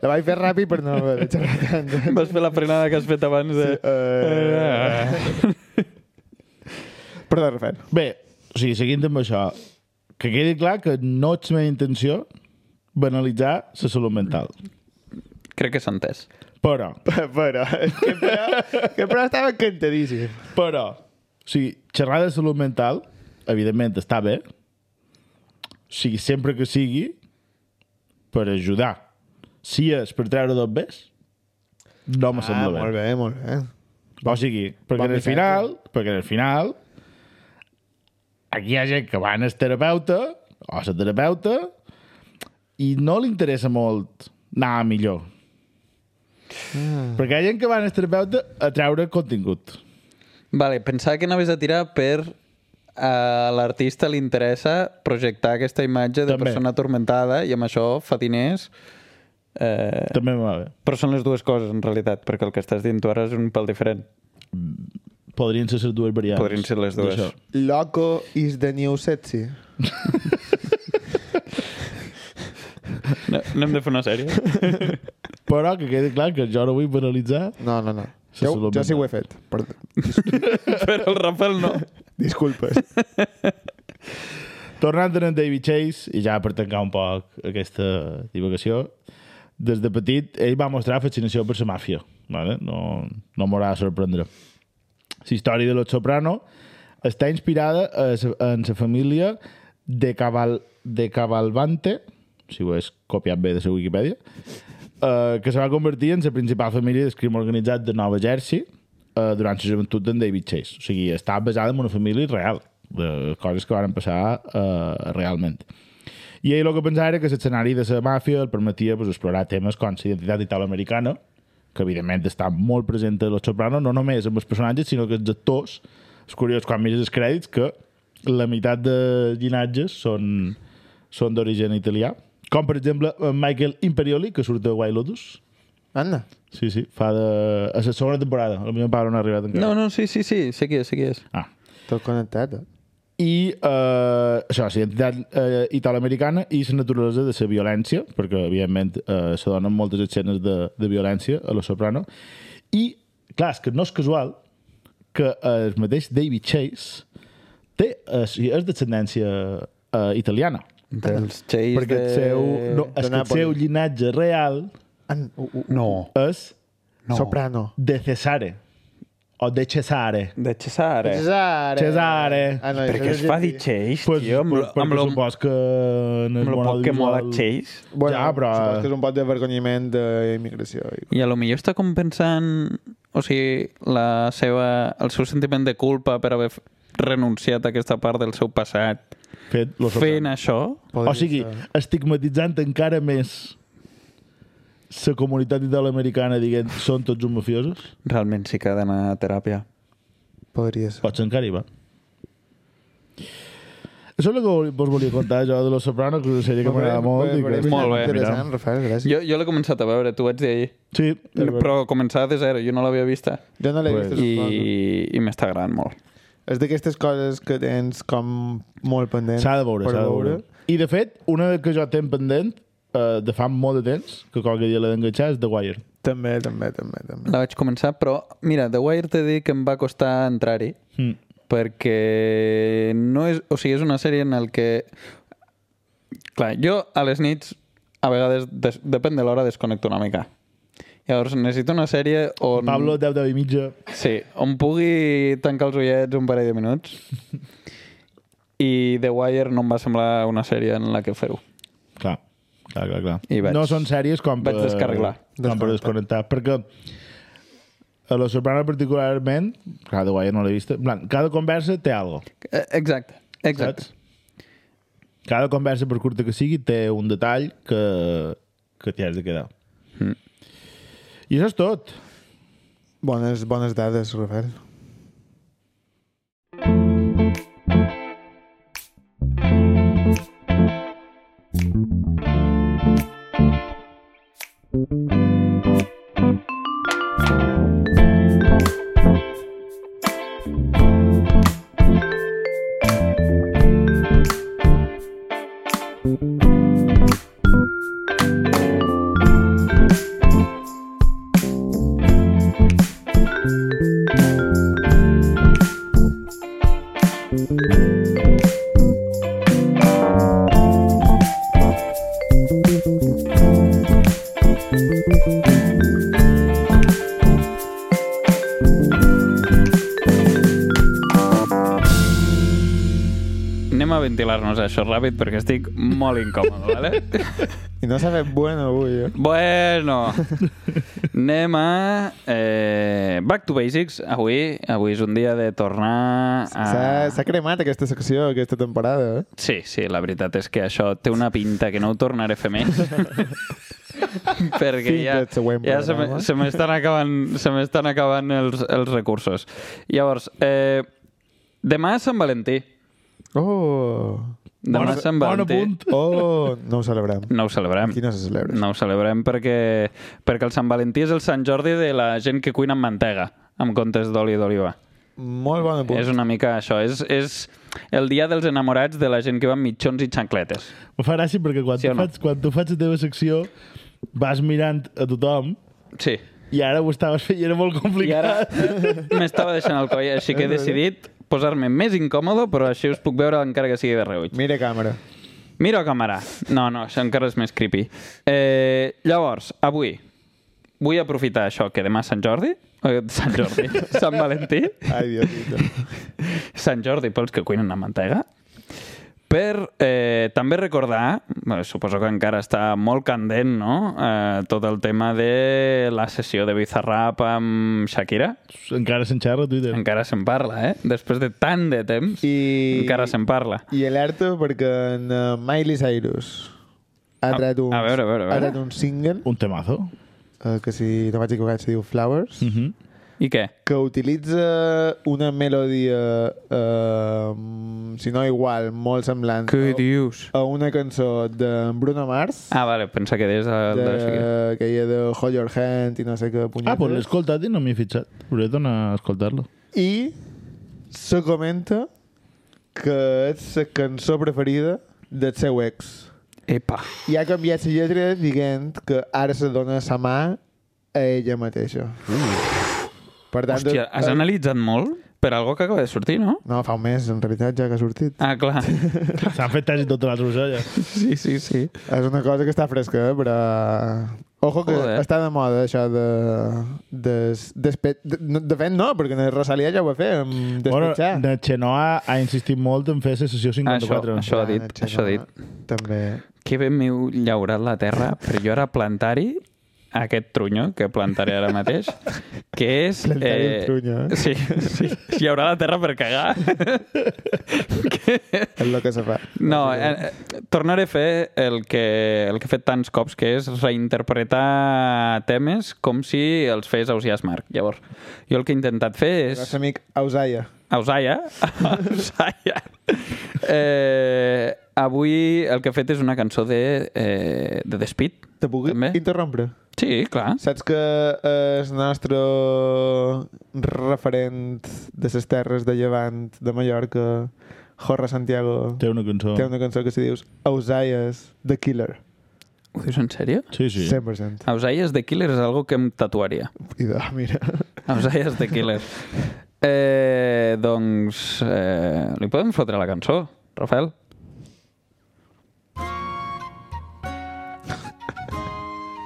Speaker 3: La vaig fer ràpid per no haver de xerrar tant.
Speaker 4: Vas fer la frenada que has fet abans de...
Speaker 3: Sí, eh. Perdó, Rafael.
Speaker 2: Bé, o sigui, seguint amb això, que quedi clar que no és meva intenció banalitzar la salut mental.
Speaker 4: Crec que s'ha entès.
Speaker 2: Però,
Speaker 3: Però, que però, que però estava encantadíssim.
Speaker 2: però, O sigui, xerrar de salut mental, evidentment, està bé. O sigui, sempre que sigui, per ajudar. Si és per treure dos bes, no me
Speaker 3: Ah,
Speaker 2: sembla bé.
Speaker 3: molt bé, molt bé.
Speaker 2: O sigui, perquè
Speaker 3: Bon
Speaker 2: en el
Speaker 3: missatge.
Speaker 2: final, perquè en el final, aquí hi ha gent que va al terapeuta, o a la terapeuta, i no li interessa molt anar a millor.
Speaker 3: Ah.
Speaker 2: Mm. Perquè hi ha gent que va al terapeuta a treure contingut.
Speaker 3: Eh.
Speaker 4: Vale, pensava que anaves a tirar per a l'artista li interessa projectar aquesta imatge de
Speaker 2: També.
Speaker 4: persona atormentada i amb això fa diners. Eh,
Speaker 2: També me va bé.
Speaker 4: però són les dues coses, en realitat, perquè el que estàs dient tu ara és un pèl diferent.
Speaker 2: Podrien ser les dues variants.
Speaker 4: Podrien ser les dues.
Speaker 2: d'això.
Speaker 3: Loco is the new sexy.
Speaker 4: No, no hem de fer una sèrie?
Speaker 2: Però que quedi clar que jo no vull banalitzar
Speaker 3: No, no, no.
Speaker 2: Se
Speaker 3: Jo,
Speaker 2: salut
Speaker 3: jo sí
Speaker 2: mental.
Speaker 3: ho he fet. Perdó.
Speaker 4: Però el Rafael no.
Speaker 3: Disculpes.
Speaker 2: Tornant en David Chase, i ja per tancar un poc aquesta divagació, des de petit ell va mostrar fascinació per la màfia. Vale? No, no m'haurà de sorprendre. La història de Los Soprano està inspirada a sa- en la família de, Caval, de Cavalvante, si ho és copiat bé de la Wikipedia, eh, que se va convertir en la principal família del crim organitzat de Nova Jersey eh, durant la joventut d'en David Chase. O sigui, està basada en una família real, de coses que van passar eh, realment. I ell el que pensava era que l'escenari de la màfia el permetia pues, explorar temes com la identitat italoamericana, que evidentment està molt present a Los Soprano, no només amb els personatges, sinó que els actors. És curiós, quan mires els crèdits, que la meitat de llinatges són, són d'origen italià. Com, per exemple, en Michael Imperioli, que surt de Wild Lotus.
Speaker 3: Anda.
Speaker 2: Sí, sí, fa de... A la segona temporada. A la millor part on ha arribat encara.
Speaker 4: No, no, sí, sí, sí, sé qui és, sé qui és.
Speaker 2: Ah,
Speaker 3: Tot connectat, eh?
Speaker 2: i eh, això, la identitat eh, italoamericana i la naturalesa de la violència, perquè evidentment eh, se donen moltes escenes de, de violència a Lo Soprano, i clar, és que no és casual que el mateix David Chase té, eh, sí, és d'ascendència eh, italiana,
Speaker 4: Dels Chase
Speaker 2: perquè el seu, no, és
Speaker 3: de
Speaker 2: que el
Speaker 3: Nàpols.
Speaker 2: seu llinatge real
Speaker 3: An... Uh, uh,
Speaker 4: No.
Speaker 2: és
Speaker 3: no. Soprano.
Speaker 2: de Cesare, o de Cesare.
Speaker 4: De Cesare.
Speaker 3: Cesare.
Speaker 2: Cesare.
Speaker 3: Ah, no,
Speaker 4: Perquè es
Speaker 3: això
Speaker 4: fa
Speaker 3: és
Speaker 4: dir
Speaker 3: llatí.
Speaker 4: Chase,
Speaker 2: Pues,
Speaker 4: tio, amb,
Speaker 2: per-
Speaker 4: amb, amb,
Speaker 2: perquè
Speaker 4: lo-
Speaker 2: supos que en el
Speaker 4: amb lo
Speaker 2: món
Speaker 4: poc que mola
Speaker 2: audiovisual-
Speaker 4: Chase.
Speaker 3: Bueno,
Speaker 2: Ja, però- eh.
Speaker 3: suposo que és un pot d'avergonyiment d'immigració. I...
Speaker 4: I a lo millor està compensant o sigui, la seva, el seu sentiment de culpa per haver f- renunciat a aquesta part del seu passat
Speaker 2: Fet Lo Soprano.
Speaker 4: fent això
Speaker 2: o sigui, estigmatitzant encara més la comunitat italoamericana dient són tots uns mafiosos,
Speaker 4: realment sí que ha d'anar a teràpia
Speaker 3: Podria ser.
Speaker 2: potser encara hi va. Això és el que vol- vos volia contar jo de Los Soprano, que és una sèrie que m'agrada molt. i que...
Speaker 4: Molt bé.
Speaker 3: Interessant, Rafael, gràcies.
Speaker 4: jo, jo l'he començat a veure, t'ho vaig dir ahir
Speaker 2: Sí, però...
Speaker 4: però començava de zero, jo no l'havia vista
Speaker 3: Jo, no l'he
Speaker 2: Pues-
Speaker 3: vist. suposo.
Speaker 4: i, i m'està agradant molt
Speaker 3: És d'aquestes coses que tens com molt pendent.
Speaker 2: s'ha de veure,
Speaker 3: per
Speaker 2: s'ha de veure. I de fet, una que jo tenc pendent, eh, de fa molt de temps, que qualque dia l'he d'enganxar, és The Wire.
Speaker 3: També, també, també. també.
Speaker 4: la vaig començar, però mira, The Wire t'he dit que em va costar entrar-hi
Speaker 2: Mm.
Speaker 4: perquè no és... O sigui, és una sèrie en el que... Clar, jo a les nits a vegades, des, depèn de l'hora, desconnecto una mica. Llavors necessito una sèrie on...
Speaker 2: Pablo, 10, 10 i mitja.
Speaker 4: Sí, on pugui tancar els ullets un parell de minuts. I The Wire no em va semblar una sèrie en la que fer-ho.
Speaker 2: Clar, clar, clar. clar.
Speaker 4: I vaig-
Speaker 2: no són sèries com
Speaker 4: vaig descarregar.
Speaker 2: Com per desconnectar, perquè a Los Soprano particularment, clar, de guai no l'he vista, en plan, cada conversa té algo,
Speaker 4: Eh, Exacte, exacte.
Speaker 2: saps? Cada conversa, per curta que sigui, té un detall que, que t'hi has de quedar.
Speaker 4: Mm.
Speaker 2: I això és tot.
Speaker 3: Bones, bones dades, Rafael.
Speaker 4: a ventilar-nos això ràpid perquè estic molt incòmode, vale?
Speaker 3: I no s'ha fet bueno avui, eh?
Speaker 4: Bueno, anem a eh, Back to Basics. Avui avui és un dia de tornar
Speaker 3: S'ha-
Speaker 4: a...
Speaker 3: S'ha cremat aquesta secció, aquesta temporada, eh?
Speaker 4: Sí, sí, la veritat és que això té una pinta que no ho tornaré a fer més. perquè
Speaker 3: Fins
Speaker 4: ja,
Speaker 3: al següent
Speaker 4: ja se me-
Speaker 3: programa.
Speaker 4: se m'estan acabant, se m'estan acabant els, els recursos. Llavors, eh, demà és Sant Valentí.
Speaker 3: Oh!
Speaker 4: Demà és Sant
Speaker 2: bon
Speaker 4: Valentí.
Speaker 2: apunt.
Speaker 3: Oh! No ho celebrem.
Speaker 4: No ho celebrem.
Speaker 3: Aquí no se celebra.
Speaker 4: No ho celebrem perquè, perquè el Sant Valentí és el Sant Jordi de la gent que cuina amb mantega, en comptes d'oli d'oliva.
Speaker 3: Molt bon apunt.
Speaker 4: És una mica això. És, és el dia dels enamorats de la gent que va amb mitjons i xancletes.
Speaker 2: Em fa gràcia perquè quan, sí
Speaker 4: Sí o
Speaker 2: tu
Speaker 4: no?
Speaker 2: faig, quan tu faig la teva secció vas mirant a tothom
Speaker 4: Sí.
Speaker 2: i ara ho estaves fent i era molt
Speaker 4: I ara
Speaker 2: complicat.
Speaker 4: m'estava deixant el coll, així que he decidit posar-me més incòmode, però així us puc veure encara que sigui de reull.
Speaker 3: Mira càmera.
Speaker 4: Mira càmera. No, no, això encara és més creepy. Eh, llavors, avui, vull aprofitar això, que demà és Sant Jordi, eh, Sant Jordi, Sant Valentí,
Speaker 3: Ai, Dios mío.
Speaker 4: Sant Jordi pels que cuinen amb mantega, per eh, també recordar, bé, suposo que encara està molt candent, no?, eh, tot el tema de la sessió de Bizarrap amb Shakira.
Speaker 2: Encara se'n xerra a Twitter.
Speaker 4: Encara se'n parla, eh? Després de tant de temps,
Speaker 3: I...
Speaker 4: encara se'n parla.
Speaker 3: I alerta perquè en eh, Miley Cyrus ha
Speaker 4: A-
Speaker 3: tret un,
Speaker 4: Ah, a veure, a veure, a veure.
Speaker 3: Ha tret un single
Speaker 2: Un temazo.
Speaker 3: eh, que si no vaig equivocat se diu Flowers
Speaker 2: Uh -huh.
Speaker 4: I què?
Speaker 3: que utilitza una melodia eh, mm, si no igual, molt semblant a-
Speaker 4: dius?
Speaker 3: a una cançó de Bruno Mars
Speaker 4: Ah, vale, pensa que deies el de... Shakira.
Speaker 3: de, que hi ha de Hold Your Hand i no sé què punyetes
Speaker 2: Ah, pues l'he escoltat i no m'hi he fixat. Hauré d'anar a escoltar-lo.
Speaker 3: i se comenta que és la cançó preferida del seu ex
Speaker 4: Epa.
Speaker 3: i ha canviat la lletra dient que ara se dona sa mà a ella mateixa. Per tant,
Speaker 4: Hòstia,
Speaker 3: eh,
Speaker 4: has analitzat molt per algo que acaba de sortir, no?
Speaker 3: No, fa un mes, en realitat, ja que ha sortit.
Speaker 4: Ah, clar.
Speaker 2: S'han fet tasi totes les roselles.
Speaker 4: Sí, sí, sí.
Speaker 3: És una cosa que està fresca, eh, però... Ojo que
Speaker 4: Joder.
Speaker 3: està de moda, això de... Des, despe... de, no, de fet, no, perquè en Rosalia ja ho va fer, amb
Speaker 2: Bueno,
Speaker 3: despetxar.
Speaker 2: de Xenoa ha insistit molt en fer la sessió 54.
Speaker 4: això ha dit,
Speaker 3: Anna Xenoma,
Speaker 4: això ha dit.
Speaker 3: També.
Speaker 4: Que bé m'heu llaurat la terra, però jo ara plantar-hi aquest trunyo que plantaré ara mateix, que és...
Speaker 3: Plantar-hi el trunyo, eh?
Speaker 4: Sí, sí. Llaurar la terra per cagar. que,
Speaker 3: És el que se fa.
Speaker 4: No, eh, eh, tornaré a fer el que, el que he fet tants cops, que és reinterpretar temes com si els fes Ausias Marc. Llavors, jo el que he intentat fer
Speaker 3: El
Speaker 4: és...
Speaker 3: nostre amic Ausaia.
Speaker 4: Ausaia. Ausaia. Eh, avui el que he fet és una cançó de, eh, de The Speed.
Speaker 3: Te puc
Speaker 4: També? Ah.
Speaker 3: interrompre?
Speaker 4: Sí, clar.
Speaker 3: Saps que el nostre referent de les terres de Llevant de Mallorca, Jorge Santiago,
Speaker 2: Té una cançó.
Speaker 3: té una cançó que se diu Ausaias, The Killer.
Speaker 4: Ho dius en sèrio?
Speaker 2: Sí, sí.
Speaker 3: 100%.
Speaker 4: Ausaias de Killer és algo que em tatuaria.
Speaker 3: Idò, mira.
Speaker 4: Ausaias de Killer. Eh, doncs, eh, li podem fotre la cançó, Rafael?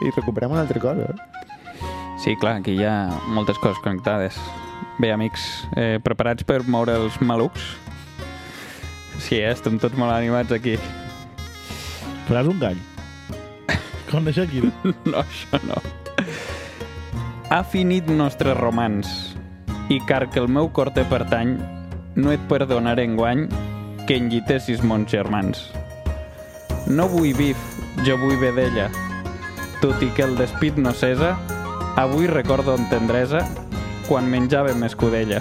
Speaker 3: I recuperem una altra cosa. eh?
Speaker 4: Sí, clar, aquí hi ha moltes coses connectades. Bé, amics, eh, preparats per moure els malucs? Sí, eh? estem tots molt animats aquí.
Speaker 2: Faràs un gall. Com de Shakira.
Speaker 4: No, això no. Ha finit nostres romans i car que el meu cor te pertany no et perdonaré enguany que enllitessis mons germans. No vull vif, jo vull bé d'ella. Tot i que el despit no cesa, avui recordo amb tendresa quan menjàvem escudella.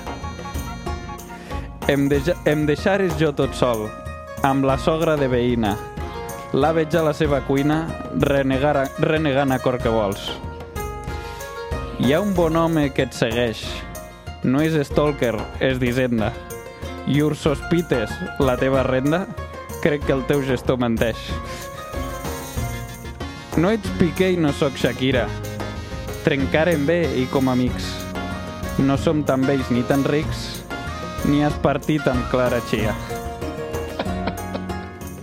Speaker 4: Em, deja, em deixares jo tot sol, amb la sogra de veïna. La veig a la seva cuina, renegar a, renegant a cor que vols. Hi ha un bon home que et segueix. No és stalker, és d'Hisenda. I us sospites la teva renda? Crec que el teu gestor menteix. No ets Piqué i no sóc Shakira. Trencarem bé i com amics. No som tan vells ni tan rics, ni has partit amb Clara Chia.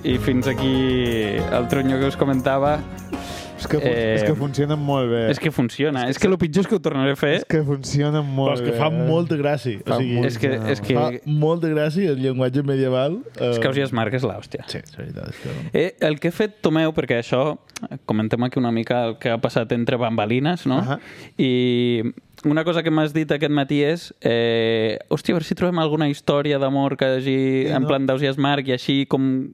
Speaker 4: I fins aquí el trunyo que us comentava.
Speaker 3: És que, fun-
Speaker 4: Eh,
Speaker 3: és que funcionen molt bé.
Speaker 4: És que funciona. Eh, És que el pitjor és que ho tornaré a fer.
Speaker 3: és que funcionen
Speaker 2: Però
Speaker 3: molt
Speaker 2: és
Speaker 3: bé.
Speaker 2: que fa molta gràcia. O
Speaker 3: Fa
Speaker 2: sigui,
Speaker 4: És que, eh? és que,
Speaker 2: fa molta gràcia el llenguatge medieval. Eh,
Speaker 4: és que Ausias Marc és l'hòstia.
Speaker 2: Sí, és veritat. és que no.
Speaker 4: Eh, el que he fet, Tomeu, perquè això eh, comentem aquí una mica el que ha passat entre bambalines, no?
Speaker 3: Ahà.
Speaker 4: I una cosa que m'has dit aquest matí és eh, hòstia, a veure si trobem alguna història d'amor que hagi
Speaker 3: Sí,
Speaker 4: en
Speaker 3: no?
Speaker 4: plan d'entusiasmar i així com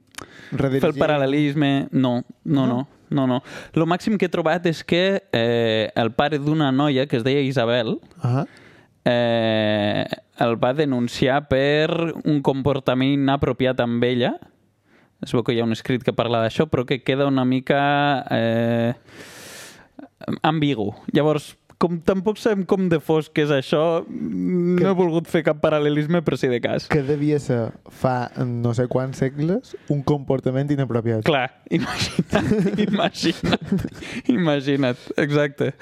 Speaker 3: Redirigir.
Speaker 4: fer el paral·lelisme. No, no, no. No, no. Lo màxim que he trobat és que eh, el pare d'una noia que es deia Isabel
Speaker 3: Ah,
Speaker 4: eh, el va denunciar per un comportament inapropiat amb ella. Es veu que hi ha un escrit que parla d'això, però que queda una mica eh, ambigu. Llavors, com tampoc sabem com de fosc és això, no he volgut fer cap paral·lelisme, però sí de cas.
Speaker 3: que devia ser fa no sé quants segles un comportament inapropiat.
Speaker 4: Clar, imagina't, imagina't, imagina't, exacte.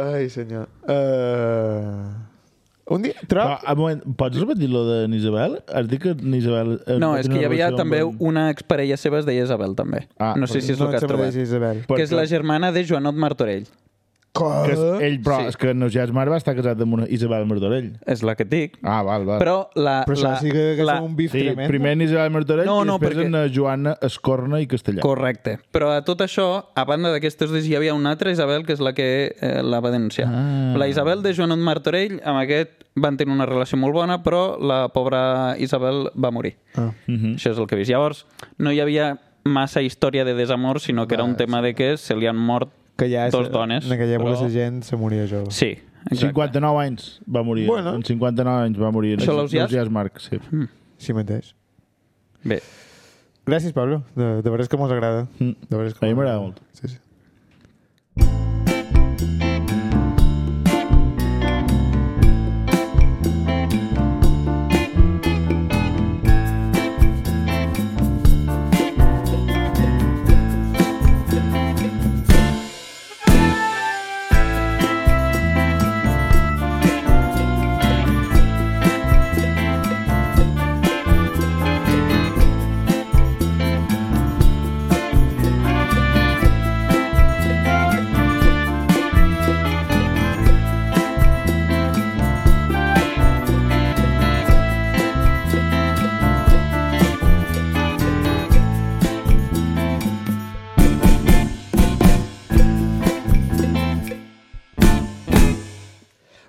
Speaker 3: Ai, senyor. Uh... Un dia... Trob...
Speaker 2: Però, un moment, pots repetir-lo de Nisabel? Has dit que Nisabel... eh,
Speaker 4: No,
Speaker 2: va
Speaker 4: és
Speaker 2: tenir
Speaker 4: que hi
Speaker 2: una
Speaker 4: havia
Speaker 2: relació amb
Speaker 4: també
Speaker 2: en-
Speaker 4: una exparella seva es deia Isabel, també.
Speaker 2: Ah,
Speaker 4: no sé si és el
Speaker 3: no
Speaker 4: que has
Speaker 3: et sembla
Speaker 4: trobat.
Speaker 3: dir, Isabel.
Speaker 4: Que és la germana de Joanot Martorell.
Speaker 2: Que és,
Speaker 3: Que...
Speaker 2: ell, però
Speaker 4: Sí.
Speaker 2: sí. és que Neusias Mar va estar casat amb una Isabel Martorell.
Speaker 4: És la que et dic.
Speaker 2: Ah, val, val.
Speaker 4: Però la...
Speaker 3: Però això
Speaker 4: la,
Speaker 3: sí que, que
Speaker 4: la...
Speaker 3: és un bif
Speaker 2: sí,
Speaker 3: tremendo.
Speaker 2: primer en Isabel Martorell
Speaker 4: No,
Speaker 2: no, no,
Speaker 4: no,
Speaker 2: i després
Speaker 4: perquè-
Speaker 2: perquè... en eh, Joana Escorna i Castellà.
Speaker 4: Correcte. Però a tot això, a banda d'aquestes dues, hi havia una altra Isabel, que és la que eh, la va denunciar.
Speaker 2: Ah.
Speaker 4: La Isabel de Joanot Martorell, amb aquest van tenir una relació molt bona, però la pobra Isabel va morir.
Speaker 3: Ah.
Speaker 2: Mhm.
Speaker 4: Això és el que he vist. Llavors, no hi havia massa història de desamor, sinó que era un tema de que se li han mort
Speaker 3: que ja és,
Speaker 4: dos dones.
Speaker 3: En aquella època
Speaker 4: però-
Speaker 3: la gent se moria jove.
Speaker 4: Sí, exacte.
Speaker 2: 59 anys va morir.
Speaker 3: Bueno.
Speaker 2: Bueno. En 59 anys va morir.
Speaker 4: Això l'Ausiàs?
Speaker 2: Neusias Marc, sí.
Speaker 3: Sí mateix.
Speaker 4: Bé,
Speaker 3: Gràcies, Pablo. De, de veres que mos agrada.
Speaker 2: Mm.
Speaker 3: De veres que
Speaker 2: A mi
Speaker 3: mos
Speaker 2: m'agrada molt.
Speaker 3: agrada. Sí, sí.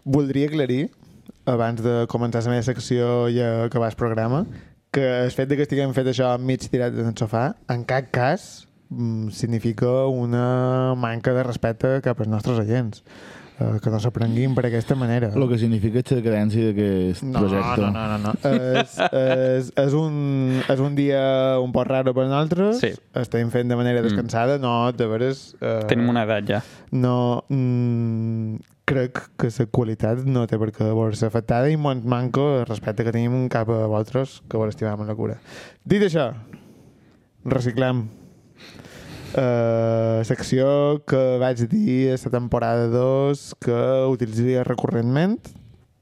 Speaker 3: Voldria aclarir, abans de començar la meva secció i acabar el programa, que el fet de que estiguem fet això mig tirat en el sofà, en cap cas mm, significa una manca de respecte cap als nostres agents. Eh, que no s'aprenguin per aquesta manera.
Speaker 2: El que significa és la cadència d'aquest
Speaker 3: No,
Speaker 2: projecte.
Speaker 3: no, no, no, no. És, és, és, un, és un dia un poc raro per nosaltres.
Speaker 4: Sí. Mm.
Speaker 3: Estem fent de manera descansada. No, de veres... Eh,
Speaker 4: tenim una edat ja.
Speaker 3: No... Mm, crec que la qualitat no té per què veure-se afectada i molt manco el respecte que tenim cap a vosaltres que vos estimam amb la cura. Dit això, reciclem. Uh, secció que vaig dir a la temporada 2 que utilitzaria recurrentment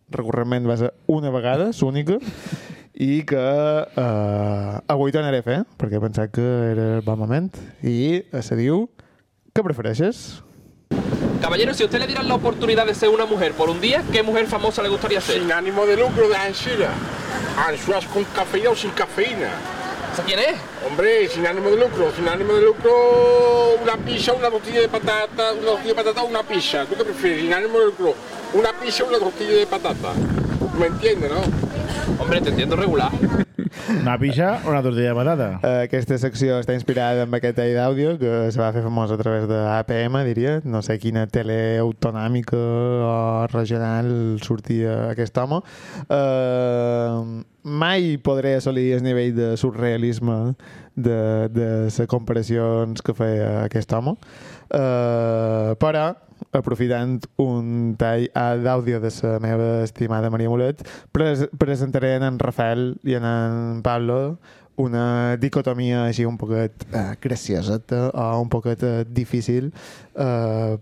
Speaker 3: recurrentment va ser una vegada, l'única, i que eh, avui tornaré a fer, perquè he pensat que era el bon moment, i eh, se diu que prefereixes?
Speaker 5: Caballero, si usted le dieran la oportunidad de ser una mujer por un día, ¿qué mujer famosa le gustaría ser?
Speaker 6: Sin ánimo de lucro de Ansira. Anchoas con cafeína o sin cafeína.
Speaker 5: ¿Esa quién es?
Speaker 6: Hombre, sin ánimo de lucro, sin ánimo de lucro, una pizza, una tortilla de patata, una tortilla de patata o una pizza. ¿Tú qué prefieres? Sin ánimo de lucro, una pizza o una tortilla de patata. ¿Me entiendes, no?
Speaker 5: Hombre, te entiendo regular.
Speaker 2: Una pixa o una tortilla de patata.
Speaker 3: Eh, aquesta secció està inspirada en aquest tall d'àudio que se va fer famós a través de APM, diria. No sé quina tele autonòmica o regional sortia aquest home. Eh, mai podré assolir el nivell de surrealisme de, de les comparacions que feia aquest home. Eh, però aprofitant un tall ah, d'àudio de la meva estimada Maria Molet, pres presentaré en, en Rafael i en, en Pablo una dicotomia així un poquet eh, gracioseta o un poquet eh, difícil eh,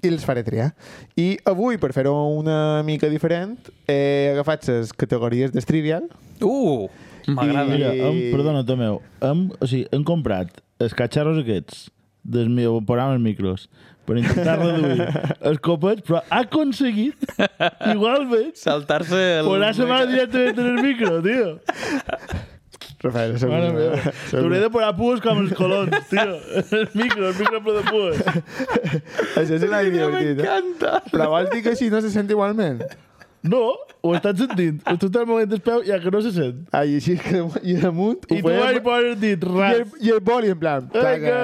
Speaker 3: i els faré triar. I avui, per fer-ho una mica diferent, he agafat les categories de trivial.
Speaker 4: Uh, m'agrada.
Speaker 2: Mira,
Speaker 3: I-
Speaker 2: hem, perdona, Tomeu, hem, o sigui, hem comprat els catxarros aquests dels meus programes micros per intentar reduir els copets, però ha aconseguit, igualment,
Speaker 4: Saltar-se el...
Speaker 2: posar-se mal directament en el micro, tio.
Speaker 3: Rafael, segur.
Speaker 2: Mare meva. T'hauré de posar pues com els colons, tio. El micro, el micro ple de pues.
Speaker 3: Això és una idea divertit. eh?
Speaker 4: M'encanta!
Speaker 3: Però vols dir que així no se sent igualment?
Speaker 2: No, ho estàs sentint. Ho estàs movent el peu i ja que no se sent.
Speaker 3: Ai, així és que i damunt ho
Speaker 2: I tu vas
Speaker 3: podem...
Speaker 2: i poses el dit,
Speaker 3: I el,
Speaker 2: ras.
Speaker 3: I el boli, en plan... Plaga.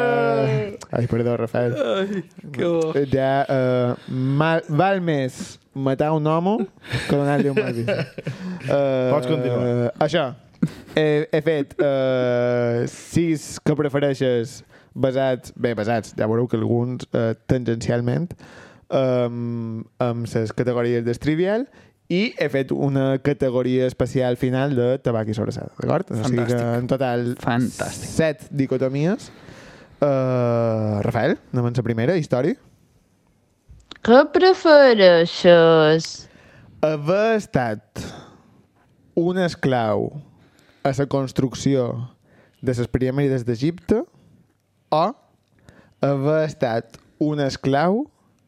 Speaker 2: Vinga.
Speaker 3: Ai, perdó, Rafael.
Speaker 4: Ai, que bo.
Speaker 3: Ja, uh, mal, val més matar un home que donar-li un malvis. Uh,
Speaker 2: Pots continuar.
Speaker 3: Uh, això. Eh, He, he fet uh, sis que prefereixes basats... Bé, basats, ja veureu que alguns uh, tangencialment um, amb les categories de trivial i he fet una categoria especial final de tabac i sobrassada, d'acord? O sigui que
Speaker 4: Fantàstic.
Speaker 3: en total
Speaker 4: Fantàstic.
Speaker 3: set dicotomies. Uh, Rafael, anem amb la primera, història.
Speaker 7: Què prefereixes?
Speaker 3: haver estat un esclau a la construcció de les piràmides d'Egipte o haver estat un esclau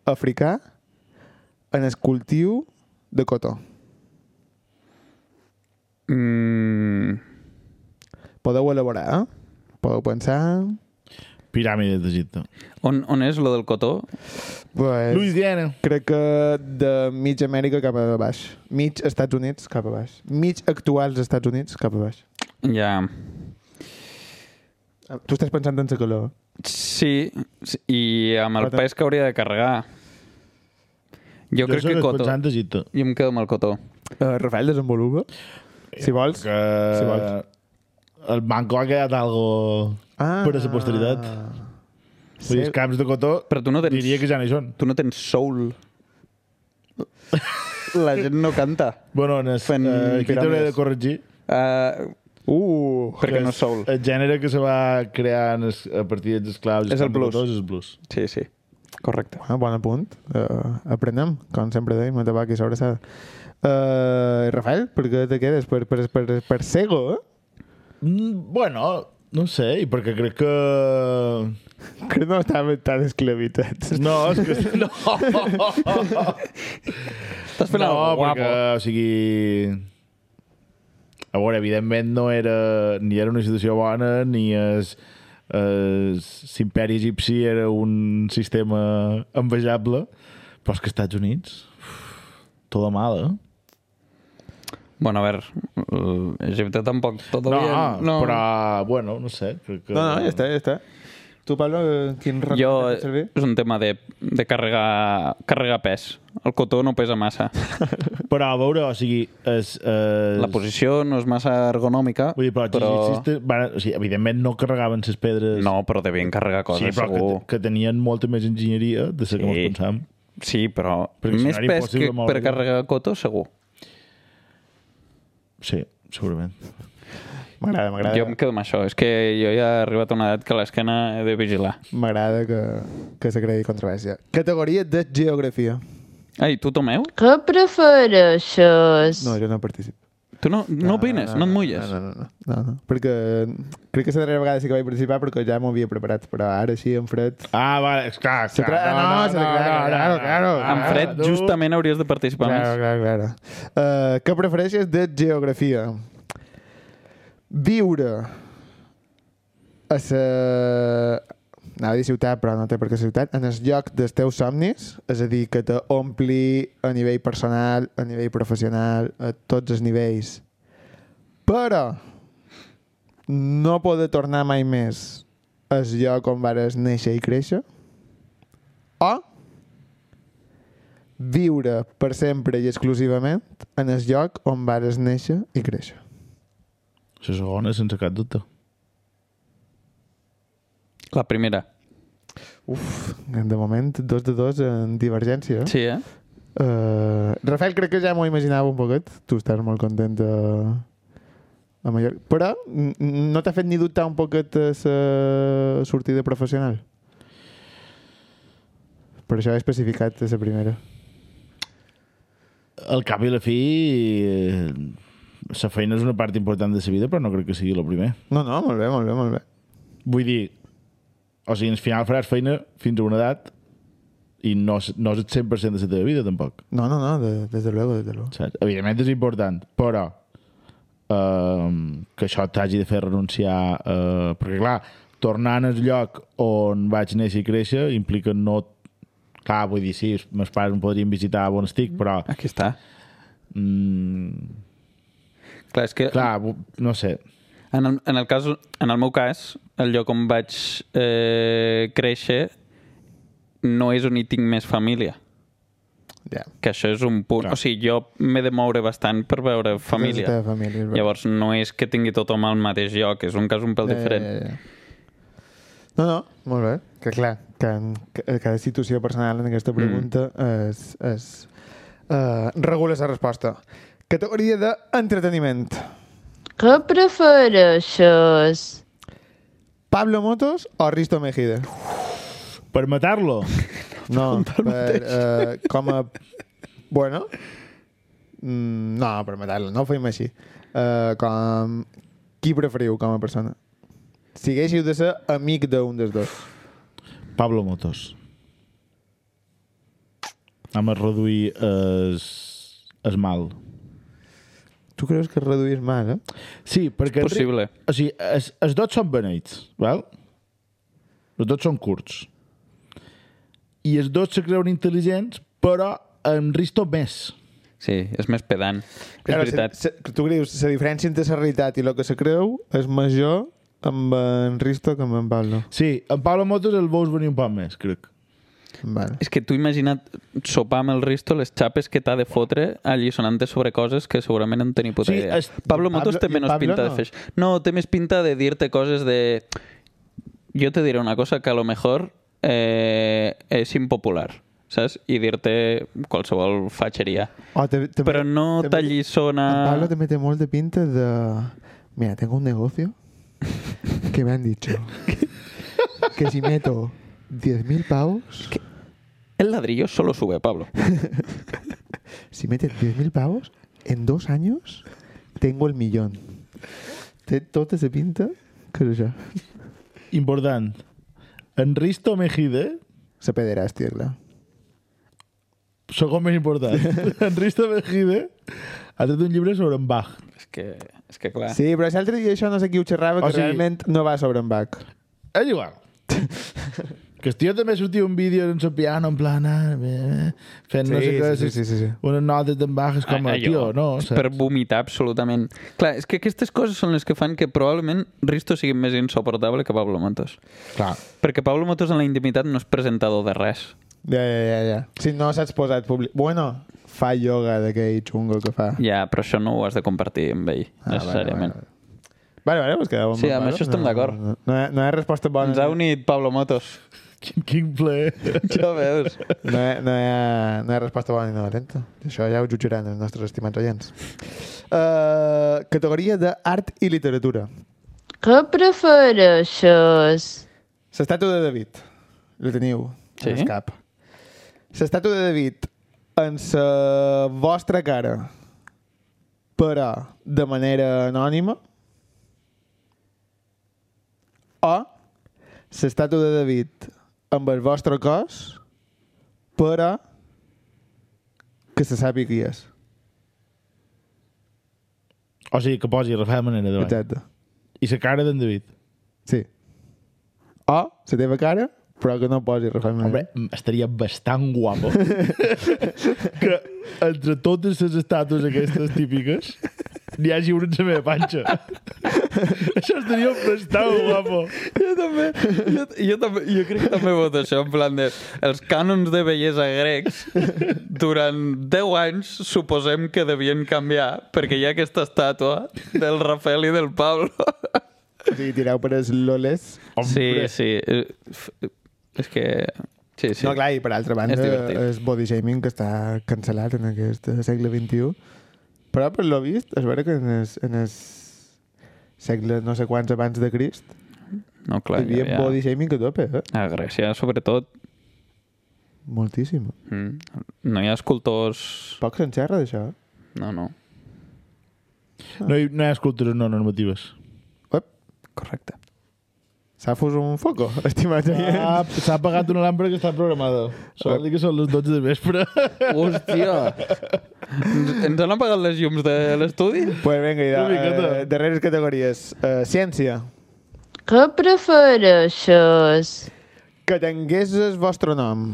Speaker 3: africà en el cultiu de cotó.
Speaker 4: Mm,
Speaker 3: Podeu elaborar, eh? Podeu pensar...
Speaker 2: Piràmides d'Egipte.
Speaker 4: on, on és lo del cotó?
Speaker 3: Pues,
Speaker 2: Louisiana.
Speaker 3: Crec que de mig Amèrica cap a baix. Mig Estats Units cap a baix. Mig actuals Estats Units cap a baix. Ah,
Speaker 4: Ja...
Speaker 3: Tu estàs pensant en la calor.
Speaker 4: Sí, sí, i amb el
Speaker 3: Cotó.
Speaker 4: pes que hauria de carregar. Jo, crec
Speaker 2: soc
Speaker 4: que cotó.
Speaker 2: pensant d'Egipte.
Speaker 4: Jo em quedo amb el cotó.
Speaker 3: Uh, Rafael, desenvolupa. Si vols.
Speaker 2: Que...
Speaker 3: Si vols.
Speaker 2: El Bangkok ha quedat algo
Speaker 3: Ah.
Speaker 2: per a la posteritat. Sí.
Speaker 3: Sí.
Speaker 2: Els camps de cotó
Speaker 4: Però tu no tens...
Speaker 2: diria que ja no hi són.
Speaker 4: Tu no tens soul. La gent no canta.
Speaker 2: Bueno, en es,
Speaker 4: Fent
Speaker 2: eh, aquí t'hauré de
Speaker 4: piràmides.
Speaker 2: corregir.
Speaker 4: Uh,
Speaker 3: Uh,
Speaker 2: que
Speaker 4: perquè no
Speaker 2: és
Speaker 4: és soul.
Speaker 2: El gènere que se va crear en es, a partir dels esclaus i
Speaker 4: És el
Speaker 2: camps de
Speaker 4: blues.
Speaker 2: cotó És el blues.
Speaker 4: Sí, sí. Correcte.
Speaker 3: ah, bon apunt. Uh, aprenem, com sempre deim, a tabac i sobrassada. Uh, Rafael, per què te quedes? Per, per, per, per cego, eh?
Speaker 2: Mm, bueno, no sé, i perquè crec que...
Speaker 3: Que no estàvem tan esclavitats.
Speaker 2: No, és que... No,
Speaker 4: Estàs fent
Speaker 2: no
Speaker 4: algo guapo.
Speaker 2: perquè, o sigui... A veure, evidentment no era... Ni era una situació bona, ni es... es L'imperi egipci era un sistema envejable, però és que Estats Units... Todo mal, eh?
Speaker 4: Bueno, a veure, l'Egipte tampoc tot
Speaker 2: No,
Speaker 4: bien.
Speaker 2: no, però, bueno, no sé. Crec que...
Speaker 3: No, no, ja està, ja està. Tu, Pablo, eh, quin record
Speaker 4: Jo,
Speaker 3: et fa servir?
Speaker 4: és un tema de, de carregar, carregar pes. El cotó no pesa massa.
Speaker 2: Però, a veure, o sigui... Es, es...
Speaker 4: La posició no és massa ergonòmica,
Speaker 2: Vull dir, però, però... Van, o sigui, evidentment no carregaven les pedres...
Speaker 4: No, però devien carregar coses,
Speaker 2: sí, però que,
Speaker 4: segur.
Speaker 2: que tenien molta més enginyeria de la que
Speaker 4: Sí.
Speaker 2: sí. ens pensàvem.
Speaker 4: Sí, però
Speaker 2: Perquè si no
Speaker 4: més
Speaker 2: era
Speaker 4: pes
Speaker 2: impossible
Speaker 4: que
Speaker 2: moure-ho.
Speaker 4: per carregar cotó, segur.
Speaker 2: Sí, segurament.
Speaker 3: M'agrada, m'agrada.
Speaker 4: Jo em quedo amb això. És que jo ja he arribat a una edat que l'esquena he de vigilar.
Speaker 3: M'agrada que, que s'acredi controvèrsia. Categoria de geografia.
Speaker 4: Ai, tu, Tomeu?
Speaker 7: Què prefereixes?
Speaker 3: No, jo no participo.
Speaker 4: Tu no,
Speaker 2: Ah,
Speaker 4: no, opines? No, et mulles?
Speaker 3: Ah, No, no, no, no, no. Perquè crec que la darrera vegada sí que vaig participar perquè ja m'ho havia preparat, però ara sí, en fred...
Speaker 2: Ah, vale, esclar,
Speaker 3: Se tra- no, se tra- claro, claro,
Speaker 4: En
Speaker 3: Ah,
Speaker 4: fred, justament hauries de participar
Speaker 3: Claro,
Speaker 4: més.
Speaker 3: claro, claro. Eh, què prefereixes de geografia? Viure a la... Anava a dir ciutat, però no té per què ciutat. En el lloc dels teus somnis, és a dir, que t'ompli a nivell personal, a nivell professional, a tots els nivells. Però no poder tornar mai més al lloc on vares néixer i créixer. O viure per sempre i exclusivament en el lloc on vares néixer i créixer.
Speaker 2: La segona, sense cap dubte.
Speaker 4: La primera.
Speaker 3: Uf, de moment, dos de dos en divergència.
Speaker 4: Sí, eh?
Speaker 3: Uh, Rafael, crec que ja m'ho imaginava un poquet. Tu estàs molt content de... A Mallorca. Però n- n- no t'ha fet ni dubtar un poquet la sortida professional? Per això he especificat la primera.
Speaker 2: Al cap i la fi, eh, la feina és una part important de la vida, però no crec que sigui el primer.
Speaker 3: No, no, molt bé, molt bé, molt bé.
Speaker 2: Vull dir, O sigui, al final faràs feina fins a una edat i no, és- no és el 100% de la teva vida, tampoc.
Speaker 3: No, no, no, de- desde luego, desde luego.
Speaker 2: Saps? Evidentment és important, però eh, que això t'hagi de fer renunciar... Eh, perquè, clar, tornant al lloc on vaig néixer i créixer implica no... Clar, vull dir, sí, els meus pares em podrien visitar on estic, però...
Speaker 4: Aquí està.
Speaker 2: Mm,
Speaker 4: Clar, és que
Speaker 2: clar, bu- no sé.
Speaker 4: En el, en, el cas, en el meu cas, el lloc on vaig eh, créixer no és on hi tinc més família.
Speaker 3: Ja.
Speaker 4: Que això és un punt...
Speaker 2: Clar.
Speaker 4: Clar. O sigui, jo m'he de moure bastant per veure
Speaker 3: la
Speaker 4: família.
Speaker 3: teva família, és veritat. Eh,
Speaker 4: Llavors, no és que tingui tothom al mateix lloc, és un cas un pèl diferent.
Speaker 3: ja, ja. No, no, molt bé. Que clar, que, en, que eh, cada situació personal en aquesta pregunta mm. es, es uh, regula la resposta. Categoria d'entreteniment.
Speaker 7: Que prefereixes?
Speaker 3: Pablo Motos o Risto Mejide?
Speaker 2: Per matar-lo?
Speaker 3: No, per, uh, com a... Bueno, mm, no, per matar-lo, no ho feim així. Uh, com... Qui preferiu com a persona? Sigueixiu de ser amic d'un dels dos.
Speaker 2: Pablo Motos. Anem a reduir es, es mal.
Speaker 3: Tu creus que reduir és mal, eh?
Speaker 2: Sí, perquè...
Speaker 4: És possible.
Speaker 2: O sigui, es, els dos són beneits, val? Els dos són curts. I els dos se creuen intel·ligents, però en Risto més.
Speaker 4: Sí, és més pedant.
Speaker 3: Claro,
Speaker 4: és veritat.
Speaker 3: Se, se, tu creus, la diferència entre la realitat i el que se creu és major amb en Risto que amb en Pablo.
Speaker 2: Sí, en Pablo Motos el veus venir un poc més, crec.
Speaker 3: Vale.
Speaker 4: És que tu imagina't sopar amb el Risto les xapes que t'ha de fotre allisonant-te sobre coses que segurament no en tenia puta
Speaker 2: Sí,
Speaker 4: idea.
Speaker 2: és-
Speaker 4: Pablo
Speaker 3: i
Speaker 4: Motos
Speaker 3: Pablo-
Speaker 4: té
Speaker 3: i
Speaker 4: menys
Speaker 3: Pablo
Speaker 4: pinta
Speaker 3: no.
Speaker 4: de fer això. No, té més pinta de dir-te coses de... Jo te diré una cosa que a lo mejor eh, és impopular, saps? I dir-te qualsevol fatxeria.
Speaker 3: Oh, te, te,
Speaker 4: Però no t'allisona...
Speaker 3: En Pablo també té molt de pinta de... Mira, tengo un negocio que me han dicho que si meto 10.000 pavos,
Speaker 4: El ladrillo solo sube, Pablo.
Speaker 3: si metes 10.000 pavos, en dos años tengo el millón. Té tota esa pinta que és això.
Speaker 2: Important. En Risto Mejide,
Speaker 3: La pederàstia, clar.
Speaker 2: segon més important, en Risto Mejide ha tret un llibre sobre en Bach.
Speaker 4: És que, és que clar...
Speaker 3: Sí, però l'altre dia això no sé qui ho xerrava,
Speaker 2: O
Speaker 3: que
Speaker 2: sigui-
Speaker 3: realment no va sobre en Bach.
Speaker 2: És igual. que el tio també sortia un vídeo en el piano, en plan, ah, bé, fent no
Speaker 3: Sí,
Speaker 2: sé què,
Speaker 3: sí, sí, sí, sí.
Speaker 2: unes notes d'en Bach, és com, ah,
Speaker 4: Ah, allò,
Speaker 2: tio, no?
Speaker 4: és
Speaker 2: saps?
Speaker 4: Per vomitar absolutament. Clar, és que aquestes coses són les que fan que probablement Risto sigui més insoportable que Pablo Motos.
Speaker 2: Clar.
Speaker 4: Perquè Pablo Motos en la intimitat no és presentador de res.
Speaker 3: Ja, ja, ja, ja. Si no s'has posat públic... Bueno, fa yoga d'aquell xungo que fa.
Speaker 4: Ja, però això no ho has de compartir amb ell,
Speaker 3: Ah,
Speaker 4: ah,
Speaker 3: vale,
Speaker 4: necessàriament.
Speaker 3: vale, Vale, vale, pues quedava eh?
Speaker 4: Sí, amb això estem d'acord.
Speaker 3: No, no, hi ha- no, hi ha resposta bona.
Speaker 4: Ens ha unit Pablo Motos.
Speaker 2: Quin, quin plaer.
Speaker 4: Ja veus.
Speaker 3: No, hi ha, no, hi ha, no hi ha resposta bona ni no dolenta. Això ja ho jutjaran els nostres estimats oients. Uh, categoria d'art i literatura.
Speaker 7: Que prefereixes?
Speaker 3: L'estàtua de David. La teniu
Speaker 4: Sí?
Speaker 3: en el cap. L'estàtua de David en la vostra cara, però de manera anònima, o l'estàtua de David amb el vostre cos, però que se sàpiga qui és.
Speaker 2: O sigui, que posi Rafael Manera davant.
Speaker 3: Exacte.
Speaker 2: I la cara d'en David.
Speaker 3: Eh? Sí. O la teva cara, però que no posi Rafael Manera.
Speaker 2: Hombre, mm, estaria bastant guapo que entre totes les estàtues aquestes típiques n'hi hagi una en la meva panxa. Això estaria bastant guapo.
Speaker 4: Jo també, jo, jo, també, jo crec que també voto això, en plan de... Els cànons de bellesa grecs, durant 10 anys, suposem que devien canviar, perquè hi ha aquesta estàtua del Rafael i del Pablo.
Speaker 3: O sigui, tireu per els loles
Speaker 4: Sí, sí. eh, f- És que... Sí, sí.
Speaker 3: No, clar, i per altra banda,
Speaker 4: És divertit.
Speaker 3: és body shaming que està cancel·lat en aquest segle XXI. Però, per l'ho vist, es veure que en el, en el segle no sé quants abans de Crist
Speaker 4: no, clar
Speaker 3: hi havia
Speaker 4: ja- ja.
Speaker 3: body shaming que tope, eh?
Speaker 4: A Grècia, sobretot,
Speaker 3: Moltíssim.
Speaker 4: mm, no hi ha escultors...
Speaker 3: Poc se'n xerra d'això. eh?
Speaker 4: No, no.
Speaker 2: No hi, no hi ha escultures no normatives.
Speaker 3: Ep,
Speaker 4: Correcte.
Speaker 3: S'ha fos un foco, estimats oients.
Speaker 2: Ah, S'ha apagat una làmpara que està programada. Sol dir que són les 12 de vespre.
Speaker 4: Hòstia! Ens- Ens han apagat les llums de l'estudi?
Speaker 3: Pues vinga, i
Speaker 2: Una
Speaker 3: de,
Speaker 2: miqueta.
Speaker 3: eh, darreres categories. Eh, ciència.
Speaker 7: Que prefereixes?
Speaker 3: Que tingués el vostre nom.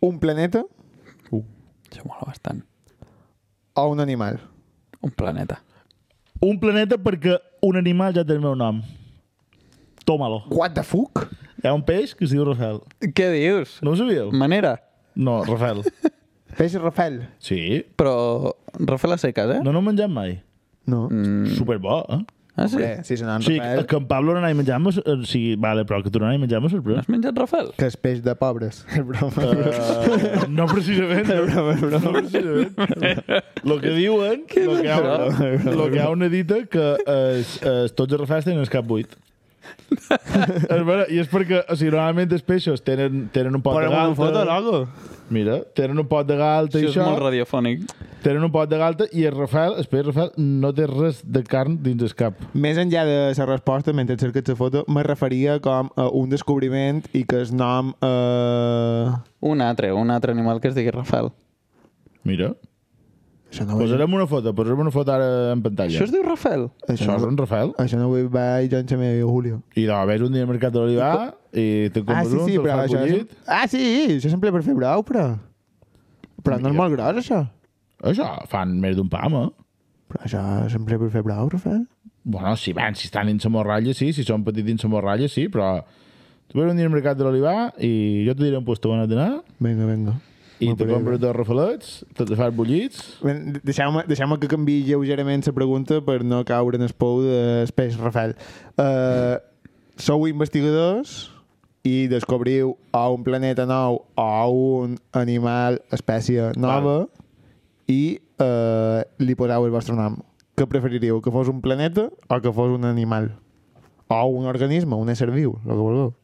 Speaker 3: Un planeta
Speaker 4: Uh, això mola bastant.
Speaker 3: o un animal?
Speaker 4: Un planeta.
Speaker 2: Un planeta perquè un animal ja té el meu nom. Tómalo.
Speaker 3: What the fuck?
Speaker 2: Hi ha un peix que es diu Rafael.
Speaker 4: Què dius?
Speaker 2: No ho sabíeu?
Speaker 3: Mm.
Speaker 4: Manera.
Speaker 2: No, Rafael.
Speaker 3: Peix Rafael?
Speaker 2: Sí.
Speaker 4: Però Rafael a seques, eh?
Speaker 2: No, no mengem mai.
Speaker 3: No. Mm.
Speaker 2: Superbo, eh?
Speaker 4: Ah, sí?
Speaker 3: Bé, sí, se n'han
Speaker 2: O sigui,
Speaker 3: Rafael.
Speaker 2: que en Pablo no anava i menjàvem... eh, O sigui, vale, però que tu no anava i menjàvem
Speaker 4: No
Speaker 2: sorprès.
Speaker 4: has menjat Rafael?
Speaker 3: Que és peix de pobres. És broma.
Speaker 2: Uh, no precisament. No precisament. Lo que diuen, lo que, ha, lo que hi ha una dita que es, es, tots els refats tenen el cap buit. és vera, I és perquè, o sigui, normalment els peixos tenen, tenen un pot de galta...
Speaker 3: logo.
Speaker 2: Mira, tenen un pot de galta
Speaker 4: Això
Speaker 2: i
Speaker 4: és
Speaker 2: això,
Speaker 4: molt radiofònic.
Speaker 2: tenen un pot de galta i el Rafael, el peix Rafael, no té res de carn dins el cap.
Speaker 3: Més enllà de la resposta, mentre cerques la foto, me referia com a un descobriment i que el nom... Eh...
Speaker 4: Un altre, un altre animal que es digui Rafael.
Speaker 2: Mira,
Speaker 3: Això no ho he-
Speaker 2: posarem una foto, posarem una foto ara en pantalla.
Speaker 4: Això es diu Rafael?
Speaker 2: Això és un Rafael.
Speaker 3: Això no ho vaig jo en Xavier i Julio.
Speaker 2: I no, ves un dia al mercat de l'Olivà i te'n
Speaker 3: Ah,
Speaker 2: compres
Speaker 3: sí,
Speaker 2: un,
Speaker 3: sí,
Speaker 2: te'l
Speaker 3: però
Speaker 2: fas
Speaker 3: això...
Speaker 2: bullit.
Speaker 3: És... Ah, sí, això sempre per fer brau, però... Però no és molt gros, això.
Speaker 2: Això, fan més d'un pam, eh?
Speaker 3: Però això sempre per fer eh? brau, Rafael.
Speaker 2: Bueno, si van, si estan dins la morralla, sí, si són petits dins la morralla, sí, però... Tu ves un dia al mercat de l'Olivà i jo te diré un puesto on has d'anar
Speaker 3: Vinga, vinga.
Speaker 2: i
Speaker 3: Molt
Speaker 2: te
Speaker 3: bé,
Speaker 2: compres dos rafalets, te te fas bullits...
Speaker 3: Ben, Deixeu-me deixeu que canviï lleugerament la pregunta per no caure en el pou d'Espeix Rafael. Uh, sou investigadors i descobriu o un planeta nou o un animal, espècie nova i uh, li poseu el vostre nom. Què preferiríeu? Que fos un planeta o que fos un animal? O un organisme, un ésser viu, el que vulgueu.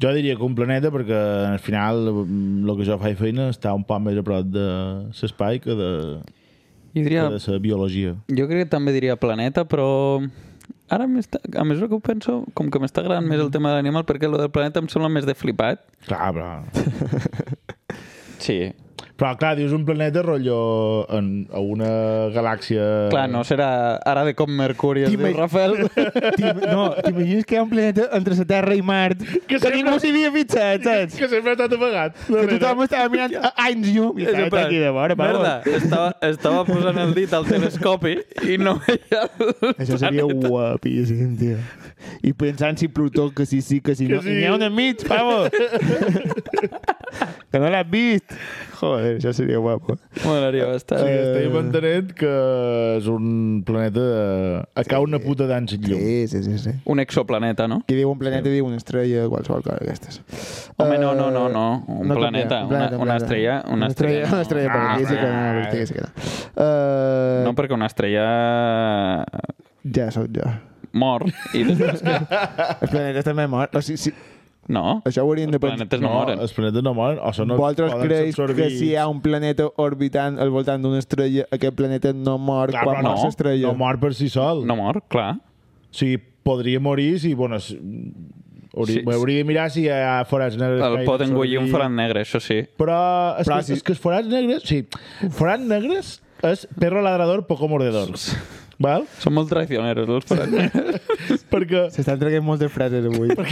Speaker 2: Jo diria que un planeta, perquè al final el que jo faig feina està un poc més a prop de l'espai que de,
Speaker 4: Jo
Speaker 2: que
Speaker 4: diria...
Speaker 2: de la biologia.
Speaker 4: Jo crec que també diria planeta, però... Ara, m'està- a mesura que ho penso, com que m'està agradant més el tema de l'animal, perquè el del planeta em sembla més de flipat.
Speaker 2: Clar, però...
Speaker 4: Sí.
Speaker 2: Però, clar, dius un planeta rotllo en, a una galàxia...
Speaker 4: Clar, no serà ara de com Mercuri es diu
Speaker 3: T'imag-
Speaker 4: Rafael.
Speaker 3: T'im- No, t'imagines que hi ha un planeta entre la Terra i Mart que, que
Speaker 2: sempre-
Speaker 3: ningú s'hi havia fixat, saps?
Speaker 2: Que sempre ha estat amagat.
Speaker 3: que tothom estava mirant a anys llum i
Speaker 4: És en
Speaker 3: estava
Speaker 4: plan,
Speaker 3: aquí de vora, però...
Speaker 4: Merda, estava, estava posant el dit al telescopi i no veia el
Speaker 3: Això seria guapíssim, tio. I pensant si Plutó, que sí, sí, que sí, no.
Speaker 2: sí.
Speaker 3: I n'hi ha un enmig, pavo! que no l'has vist! Joder, això seria guapo.
Speaker 4: M'agradaria
Speaker 2: O sigui,
Speaker 3: Eh.
Speaker 4: bastant.
Speaker 2: estem entenent que és un planeta de... a cau una puta d'anys llum. Sí.
Speaker 3: sí, sí, sí.
Speaker 4: Un exoplaneta, no?
Speaker 3: Qui diu un planeta diu una estrella, qualsevol cosa d'aquestes.
Speaker 4: Home, no,
Speaker 3: Eh,
Speaker 4: no, no, no. Un
Speaker 3: no
Speaker 4: planeta,
Speaker 3: canvia, un planeta, un
Speaker 4: una- una
Speaker 3: planeta.
Speaker 4: estrella, una estrella,
Speaker 3: Una
Speaker 4: no.
Speaker 3: estrella, per
Speaker 2: Ah,
Speaker 3: aquí sí que no, per aquí sí que no. Eh,
Speaker 4: No, perquè una estrella
Speaker 3: Ja sóc jo.
Speaker 4: mor i després...
Speaker 3: Els planetes també mort. O sigui, Oh, sí,
Speaker 4: No,
Speaker 3: això ho hauríem de
Speaker 4: els
Speaker 3: pensar.
Speaker 4: planetes no moren.
Speaker 2: els planetes no moren, o són...
Speaker 3: Vosaltres
Speaker 2: poden
Speaker 3: creus
Speaker 2: ser
Speaker 3: que
Speaker 2: absorbits.
Speaker 3: si hi ha un planeta orbitant al voltant d'una estrella, aquest planeta no mor
Speaker 2: Clar,
Speaker 3: quan
Speaker 2: però
Speaker 3: mor
Speaker 4: no,
Speaker 3: l'estrella?
Speaker 2: No mor per si sol.
Speaker 4: No mor, clar.
Speaker 2: O sigui, podria morir si... Bueno, si... Hauria,
Speaker 4: Sí,
Speaker 2: sí, hauria de mirar si hi ha forats negres.
Speaker 4: El
Speaker 2: que hi
Speaker 4: pot engullir un
Speaker 2: absorbir.
Speaker 4: forat negre, això sí.
Speaker 2: Però és,
Speaker 3: Però
Speaker 2: que,
Speaker 3: si-
Speaker 2: és que els forats negres... Sí, forats negres és perro ladrador, poco mordedor. Val?
Speaker 4: Són molt traicioneros, els forats negres.
Speaker 2: Perquè,
Speaker 3: S'estan traient moltes frases avui. per,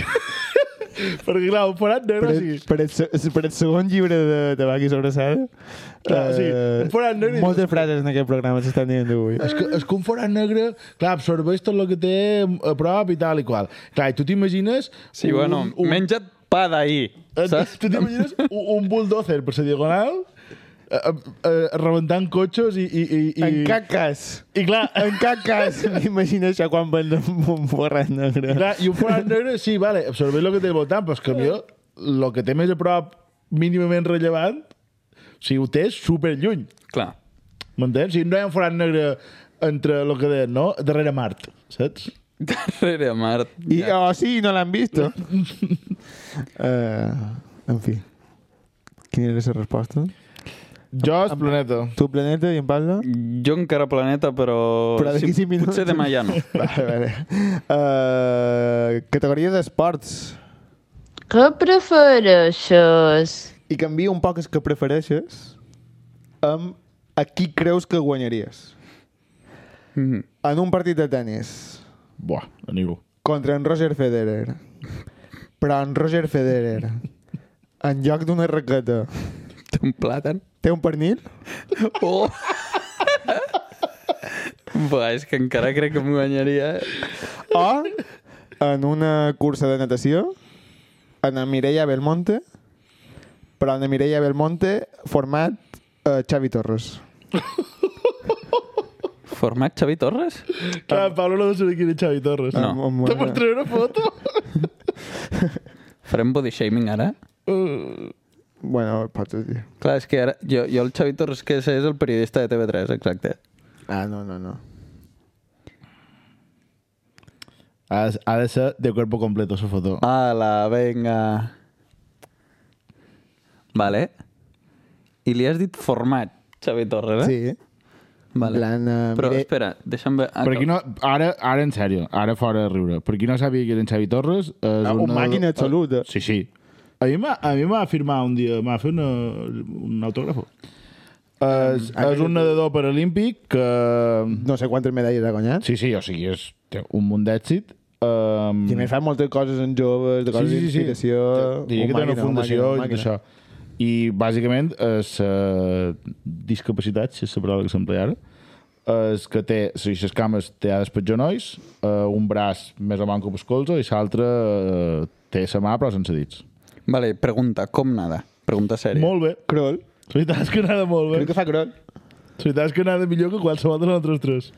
Speaker 2: perquè clar, un forat negre...
Speaker 3: per,
Speaker 2: o sigui,
Speaker 3: per, el, se- per el segon llibre de Tabaqui sobre Sada,
Speaker 2: Clar, o sigui,
Speaker 3: eh,
Speaker 2: un forat negre-
Speaker 3: moltes frases en aquest programa s'estan dient avui.
Speaker 2: És que, és que un forat negre, clar, absorbeix tot el que té a prop i tal i qual. Clar, i tu t'imagines...
Speaker 4: Sí, bueno,
Speaker 2: un, eh,
Speaker 4: menja't pa d'ahir, saps?
Speaker 2: Tu t'imagines un, un bulldozer per la diagonal eh, eh, eh, rebentant cotxes i... i, i, i
Speaker 3: En cap cas,
Speaker 2: I clar,
Speaker 3: en cap cas, m'imagino això quan ven un borrat negre.
Speaker 2: clar, i un forat negre, sí, vale, absorbeix el que té al voltant, però és que jo, el que té més a prop mínimament rellevant, o sigui, ho té super lluny,
Speaker 4: Clar.
Speaker 2: m'entens? O sigui, no hi ha un forat negre entre el que deien, no? Darrere Mart, saps?
Speaker 4: Darrere Mart.
Speaker 3: I, oh, sí, no l'han vist. eh, en fi. Quina era la resposta?
Speaker 2: Jo, el planeta.
Speaker 3: Tu, Planeta, i en Pablo?
Speaker 4: Jo encara planeta, però...
Speaker 3: Però d'aquí cinc minuts.
Speaker 4: Potser demà ja no.
Speaker 3: Vale, vale. Uh, categoria d'esports.
Speaker 7: que prefereixes?
Speaker 3: I canvia un poc el que prefereixes amb a qui creus que guanyaries.
Speaker 4: Mhm.
Speaker 3: En un partit de tennis
Speaker 2: Buah, a ningú.
Speaker 3: contra en Roger Federer. Però en Roger Federer, en lloc d'una raqueta,
Speaker 4: Té un plàtan.
Speaker 3: té un pernil?
Speaker 4: Oh! Buah, és que encara crec que em guanyaria. eh?
Speaker 3: O en una cursa de natació, en Mireia Belmonte, però en Mireia Belmonte format eh, Xavi Torres.
Speaker 4: Format Xavi Torres?
Speaker 2: Clar, Pablo no sabe quién es Xavi Torres.
Speaker 4: No.
Speaker 3: Amb- amb
Speaker 2: Te
Speaker 3: una-
Speaker 2: mostraré una foto.
Speaker 4: Farem body shaming ara?
Speaker 2: Uh,
Speaker 3: Bueno, pots dir.
Speaker 4: Clar, és que ara... Jo, jo el Xavi Torres que sé és el periodista de TV3, exacte.
Speaker 3: Ah, no, no, no.
Speaker 2: ha, de- ha de ser de cuerpo completo su foto.
Speaker 4: Ah, Ala, venga. Vale. I li has dit format, Xavi Torres, eh?
Speaker 3: Sí.
Speaker 4: Vale.
Speaker 3: plan, eh,
Speaker 4: Però
Speaker 3: mire-
Speaker 4: espera, deixa'm veure...
Speaker 2: Per qui no, ara, ara en sèrio, ara fora de riure. Per qui no sabia qui era en Xavi Torres... És
Speaker 3: Ah, un
Speaker 2: una-
Speaker 3: màquina absoluta.
Speaker 2: Sí, sí. A mi m'ha- a mi m'ha firmat un dia, m'ha fet una, un autògrafo. És, és un nedador paralímpic que...
Speaker 3: No sé quantes medalles ha guanyat.
Speaker 2: Sí, sí, o sigui, és, té un munt d'èxit. Um,
Speaker 3: I a més fa moltes coses en joves, de coses d'inspiració...
Speaker 2: Diria que té una
Speaker 3: màquina,
Speaker 2: fundació i
Speaker 3: màquina,
Speaker 2: tot
Speaker 3: màquina.
Speaker 2: això. I bàsicament és eh, discapacitat, si és la paraula que s'empleia ara, és que té, o sigui, les cames té ara per genolls, eh, un braç més o menys com el colze i l'altre eh, té la mà però sense dits.
Speaker 4: Vale, pregunta, com nada? Pregunta sèria.
Speaker 2: Molt bé.
Speaker 3: Crol.
Speaker 2: La veritat és que anava molt bé.
Speaker 3: Crec que fa crol.
Speaker 2: La veritat és que anava millor que qualsevol de nosaltres tres.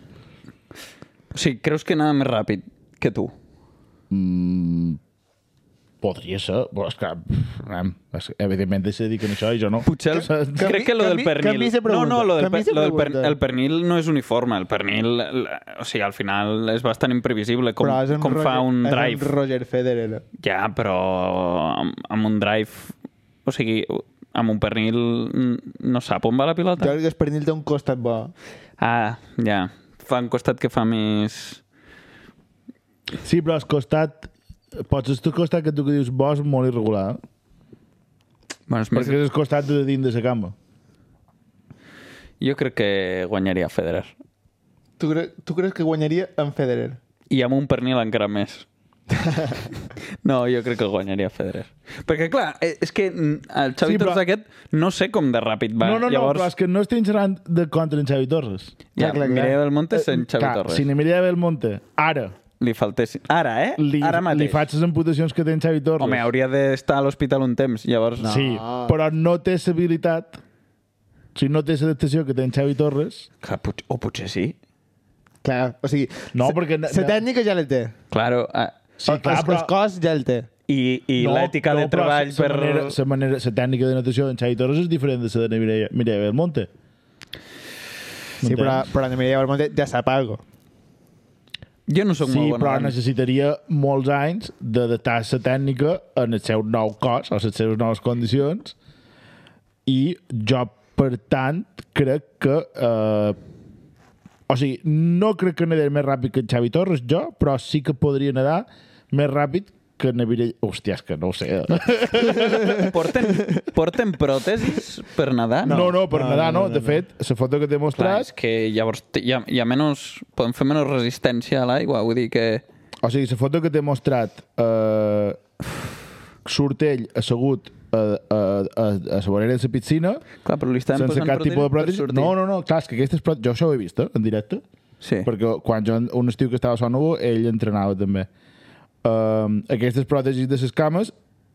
Speaker 4: O sigui, creus que anava més ràpid que tu?
Speaker 2: Podria ser, però és que... anem, és que, Evidentment, deixa de dir que no això i jo no.
Speaker 4: Potser el,
Speaker 2: Saps?
Speaker 4: crec que lo del
Speaker 3: canvi-
Speaker 4: pernil...
Speaker 3: canvi de pregunta,
Speaker 4: no, no, lo del,
Speaker 3: canvi
Speaker 4: per,
Speaker 3: de
Speaker 4: lo del per,
Speaker 3: pregunta.
Speaker 4: el pernil no és uniforme. El pernil, la- o sigui, al final és bastant imprevisible com,
Speaker 3: Però és en
Speaker 4: com fa
Speaker 3: Roger-
Speaker 4: un
Speaker 3: és en
Speaker 4: drive.
Speaker 3: Roger Federer.
Speaker 4: Ja, però amb, amb un drive... O sigui, amb un pernil mm, no sap on va la
Speaker 3: Jo
Speaker 4: pilota.
Speaker 3: crec que el pernil té un costat bo.
Speaker 4: Ah, ja. Fa un costat que fa més...
Speaker 2: Sí, però al costat... Pots estar al costat que tu que dius bo és molt irregular. eh?
Speaker 4: Bueno, és
Speaker 2: Perquè
Speaker 4: més...
Speaker 2: és al costat de dins de la cama.
Speaker 4: Jo crec que guanyaria Federer.
Speaker 3: Tu, cre tu creus que guanyaria en Federer?
Speaker 4: I amb un pernil encara més. no, jo crec que guanyaria Federer. Perquè, clar, eh, és que mm, el
Speaker 2: Sí,
Speaker 4: Xavi sí,
Speaker 2: però-
Speaker 4: però... Torres aquest no sé com de ràpid va.
Speaker 2: no, no, no,
Speaker 4: Llavors,
Speaker 2: però és que no estic serant de contra en Xavi Torres.
Speaker 4: ja,
Speaker 3: Clar, clar, clar.
Speaker 4: Mireia del Monte és en Xavi
Speaker 2: Eh, Clar,
Speaker 4: Torres.
Speaker 2: Si n'Emilia de Belmonte, ara,
Speaker 4: Li faltessin... Ara, eh?
Speaker 2: li,
Speaker 4: Ara mateix.
Speaker 2: li faig les amputacions que té en Xavi Torres.
Speaker 4: Home, hauria d'estar a l'hospital un temps, llavors...
Speaker 2: Sí, però no té la habilitat, o sigui, no té la adaptació que té en Xavi Torres.
Speaker 4: Clar, pot... o potser sí.
Speaker 3: Clar, o sigui...
Speaker 2: No,
Speaker 3: se-
Speaker 2: perquè-
Speaker 3: La tècnica ja la té.
Speaker 4: Claro, ah,
Speaker 2: Sí,
Speaker 3: El- el, el cos ja el té.
Speaker 4: i, i no, l'ètica no, de treball
Speaker 2: la,
Speaker 4: per...
Speaker 2: Manera, la, manera, la tècnica de natació d'en Xavi Torres és diferent de la de Mireia, Mireia Belmonte.
Speaker 3: Sí, però, però Ana Mireia Belmonte ja sap algo.
Speaker 4: Jo no sóc
Speaker 2: Sí,
Speaker 4: molt bon.
Speaker 2: però
Speaker 4: en-
Speaker 2: necessitaria molts anys d'adaptar la tècnica en el seu nou cos, a les seves noves condicions, i jo, per tant, crec que... Eh, o sigui, no crec que nedaré més ràpid que en Xavi Torres, jo, però sí que podria nedar més ràpid que Navire... Hòstia, és que no ho sé.
Speaker 4: Porten, porten pròtesis per nedar?
Speaker 2: No, no, per nedar no. De fet, la foto que t'he
Speaker 4: Clar,
Speaker 2: mostrat...
Speaker 4: és que llavors té- hi ha, hi ha menys... Podem fer menys resistència a l'aigua, vull dir que...
Speaker 2: O sigui, la foto que t'he mostrat eh, surt ell assegut a, a, a, a la vorera de la piscina
Speaker 4: Clar, però li estan
Speaker 2: sense
Speaker 4: posant
Speaker 2: cap tipus de pròtesi.
Speaker 4: per sortir.
Speaker 2: No, no, no, clar, és que aquestes pròtesis... Jo això ho he vist, eh, en directe.
Speaker 4: Sí.
Speaker 2: Perquè quan jo, un estiu que estava a Sònovo, ell entrenava també. Um, aquestes pròtesis de les cames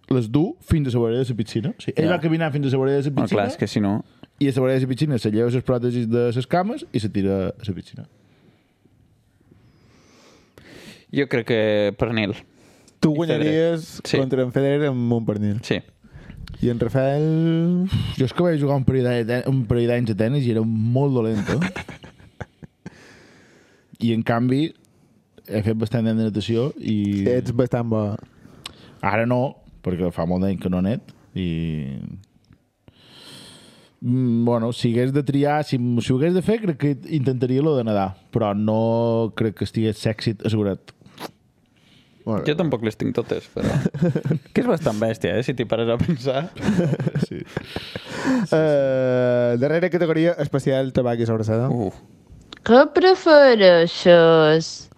Speaker 2: les du fins a la vorera de la piscina. O sigui, ell
Speaker 4: Ja.
Speaker 2: va caminar fins a la vorera de la
Speaker 4: No,
Speaker 2: piscina
Speaker 4: clar, és que si no...
Speaker 2: i a la vorera de la piscina se lleva les pròtesis de les cames i se tira a la piscina.
Speaker 4: Jo crec que pernil.
Speaker 3: Tu
Speaker 4: I
Speaker 3: guanyaries
Speaker 4: Federer. Sí.
Speaker 3: contra en Federer amb un pernil.
Speaker 4: Sí.
Speaker 3: I en Rafael...
Speaker 2: Jo és que vaig jugar un parell de ten- un parell d'anys a tenis i era molt dolent, eh? I en canvi he fet bastant de natació i
Speaker 3: Ets bastant bo.
Speaker 2: ara no, perquè fa molt d'any que no net i mm, bueno, si hagués de triar, si si ho hagués de fer, crec que intentaria lo de nedar, però no crec que estigués sexy assegurat.
Speaker 4: Jo tampoc les tinc totes, però... que és bastant bèstia, eh, si t'hi pares a pensar.
Speaker 3: Eh, darrera categoria especial tabac i sobrassada.
Speaker 2: Oh.
Speaker 4: Uh,
Speaker 7: Que prefereixes?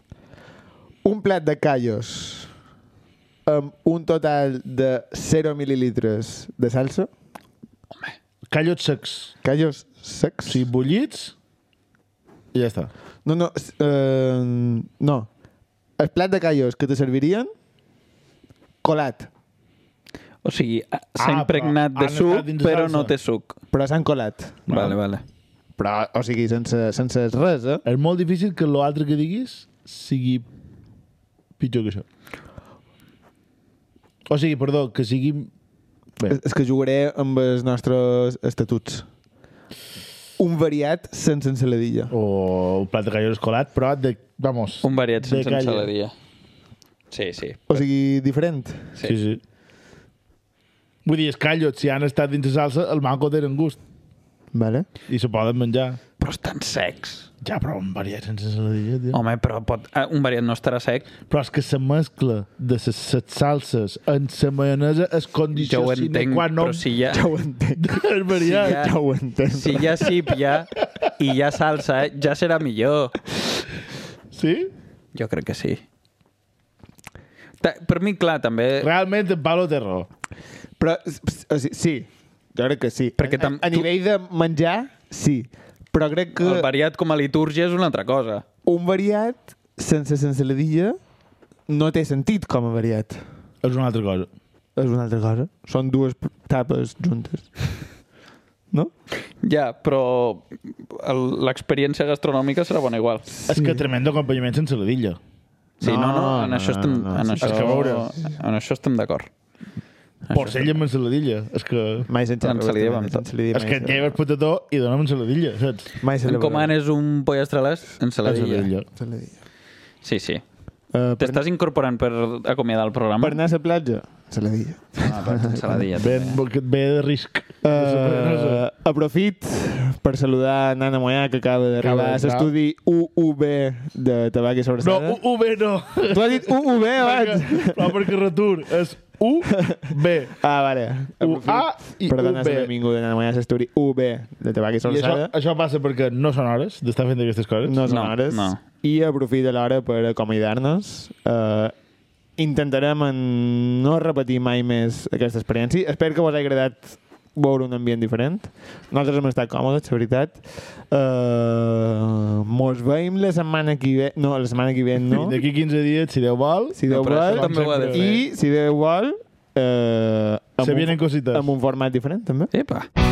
Speaker 3: Un plat de callos amb un total de 0 mil·lilitres de salsa.
Speaker 2: Callots secs,
Speaker 3: Callos secs?
Speaker 2: si bullits, i ja està.
Speaker 3: No, no. s- Eh, no. El plat de callos que te servirien colat,
Speaker 4: o sigui, ha- s'ha
Speaker 2: Ah,
Speaker 4: impregnat
Speaker 2: però
Speaker 4: de
Speaker 2: han
Speaker 4: suc,
Speaker 2: estat dins
Speaker 4: però
Speaker 2: salsa.
Speaker 4: no té suc.
Speaker 3: però s'han colat.
Speaker 4: Vale, vale.
Speaker 3: Però, o sigui, sense, sense res, eh?
Speaker 2: És molt difícil que l'altre que diguis sigui pitjor que això. O sigui, perdó, que sigui... Bé,
Speaker 3: És- És que jugaré amb els nostres estatuts. Un variat sense ensaladilla.
Speaker 2: o un plat de callos colat, però de... Vamos.
Speaker 4: Un variat
Speaker 2: de
Speaker 4: sense
Speaker 2: callo.
Speaker 4: ensaladilla. Sí, sí.
Speaker 3: O sigui, diferent.
Speaker 2: Sí, sí. Vull dir, els callots, si han estat dins la salsa, el manco tenen gust
Speaker 3: Vale.
Speaker 2: i se poden menjar.
Speaker 4: Però estan secs.
Speaker 2: Ja, però un variat sense ensaladilla, tio.
Speaker 4: Home, però pot... ah, un variat no estarà sec.
Speaker 2: Però és que se mescla de ses, ses salses en la maionesa és
Speaker 4: Jo
Speaker 2: condició
Speaker 4: ho
Speaker 2: sine
Speaker 4: entenc,
Speaker 2: qua non
Speaker 4: però si ja...
Speaker 3: Ja ho entenc.
Speaker 2: del variat.
Speaker 4: ja-
Speaker 3: Ja ho entenc.
Speaker 4: Si hi ha cip ja, i hi ha salsa, ja serà millor.
Speaker 2: Sí?
Speaker 4: Jo crec que sí. Ta per mi, clar, també...
Speaker 2: Realment, en Pablo té raó.
Speaker 3: Però, s- s- o sigui, sí, jo crec que sí.
Speaker 4: Perquè
Speaker 3: a,
Speaker 4: tam-
Speaker 3: a, a
Speaker 4: tu-
Speaker 3: nivell de menjar, sí. Però crec que
Speaker 4: El variat com a litúrgia és una altra cosa.
Speaker 3: un variat sense ensaladilla no té sentit com a variat.
Speaker 2: És una altra cosa.
Speaker 3: És una altra cosa. Són dues p- tapes juntes. No?
Speaker 4: Ja, però el- l'experiència gastronòmica serà bona igual.
Speaker 2: Sí. És que tremendo acompanyament sense ladilla.
Speaker 4: Sí, no, no, no en
Speaker 3: no,
Speaker 4: això estem,
Speaker 3: no,
Speaker 4: en
Speaker 3: sí,
Speaker 4: això,
Speaker 2: és que veure.
Speaker 4: en això estem d'acord.
Speaker 3: Ah,
Speaker 2: Porcella amb ensaladilla. És que...
Speaker 3: Mai sense
Speaker 4: Ensaladilla amb tot.
Speaker 2: és que lleves patató i dona'm ensaladilla, saps?
Speaker 3: Mai
Speaker 4: En comanes un pollastres ensaladilla.
Speaker 2: Ensaladilla.
Speaker 3: Ensaladilla.
Speaker 4: Sí, sí.
Speaker 3: Uh, per,
Speaker 4: T'estàs incorporant per acomiadar el
Speaker 3: per
Speaker 4: programa?
Speaker 3: anar a la platja, ensaladilla.
Speaker 4: Ah, per ensaladilla.
Speaker 2: Ve,
Speaker 4: també.
Speaker 2: ve- ve de risc.
Speaker 3: Uh, Eh, aprofit per saludar Nana Moyà, que acaba d'arribar a
Speaker 2: d'entrar.
Speaker 3: l'estudi UUB de Tabac i
Speaker 2: No,
Speaker 3: Sobrassada.
Speaker 2: U- UB no.
Speaker 3: Tu has dit UUB abans.
Speaker 2: No, perquè retur. És UB.
Speaker 3: Ah, vale.
Speaker 2: UA i
Speaker 3: Per donar
Speaker 2: UB.
Speaker 3: la benvinguda a Moyà, a l'estudi UB de Tabac i
Speaker 2: I això,
Speaker 3: Sobrassada.
Speaker 2: això passa perquè no són hores d'estar fent aquestes coses.
Speaker 3: No són
Speaker 4: No,
Speaker 3: hores.
Speaker 4: no.
Speaker 3: I aprofita l'hora per acomiadar-nos. Uh, intentarem en no repetir mai més aquesta experiència. Espero que vos hagi agradat veure un ambient diferent. Nosaltres hem estat còmodes, la veritat. Uh, mos veiem la setmana que ve. No, la setmana que ve no.
Speaker 2: I D'aquí 15 dies, si Déu vol,
Speaker 3: Si Déu
Speaker 4: No, però això
Speaker 3: vol.
Speaker 4: també ho ha de fer.
Speaker 3: I, si Déu vol, uh,
Speaker 2: se vienen cosites.
Speaker 3: amb un format diferent, també.
Speaker 4: Epa.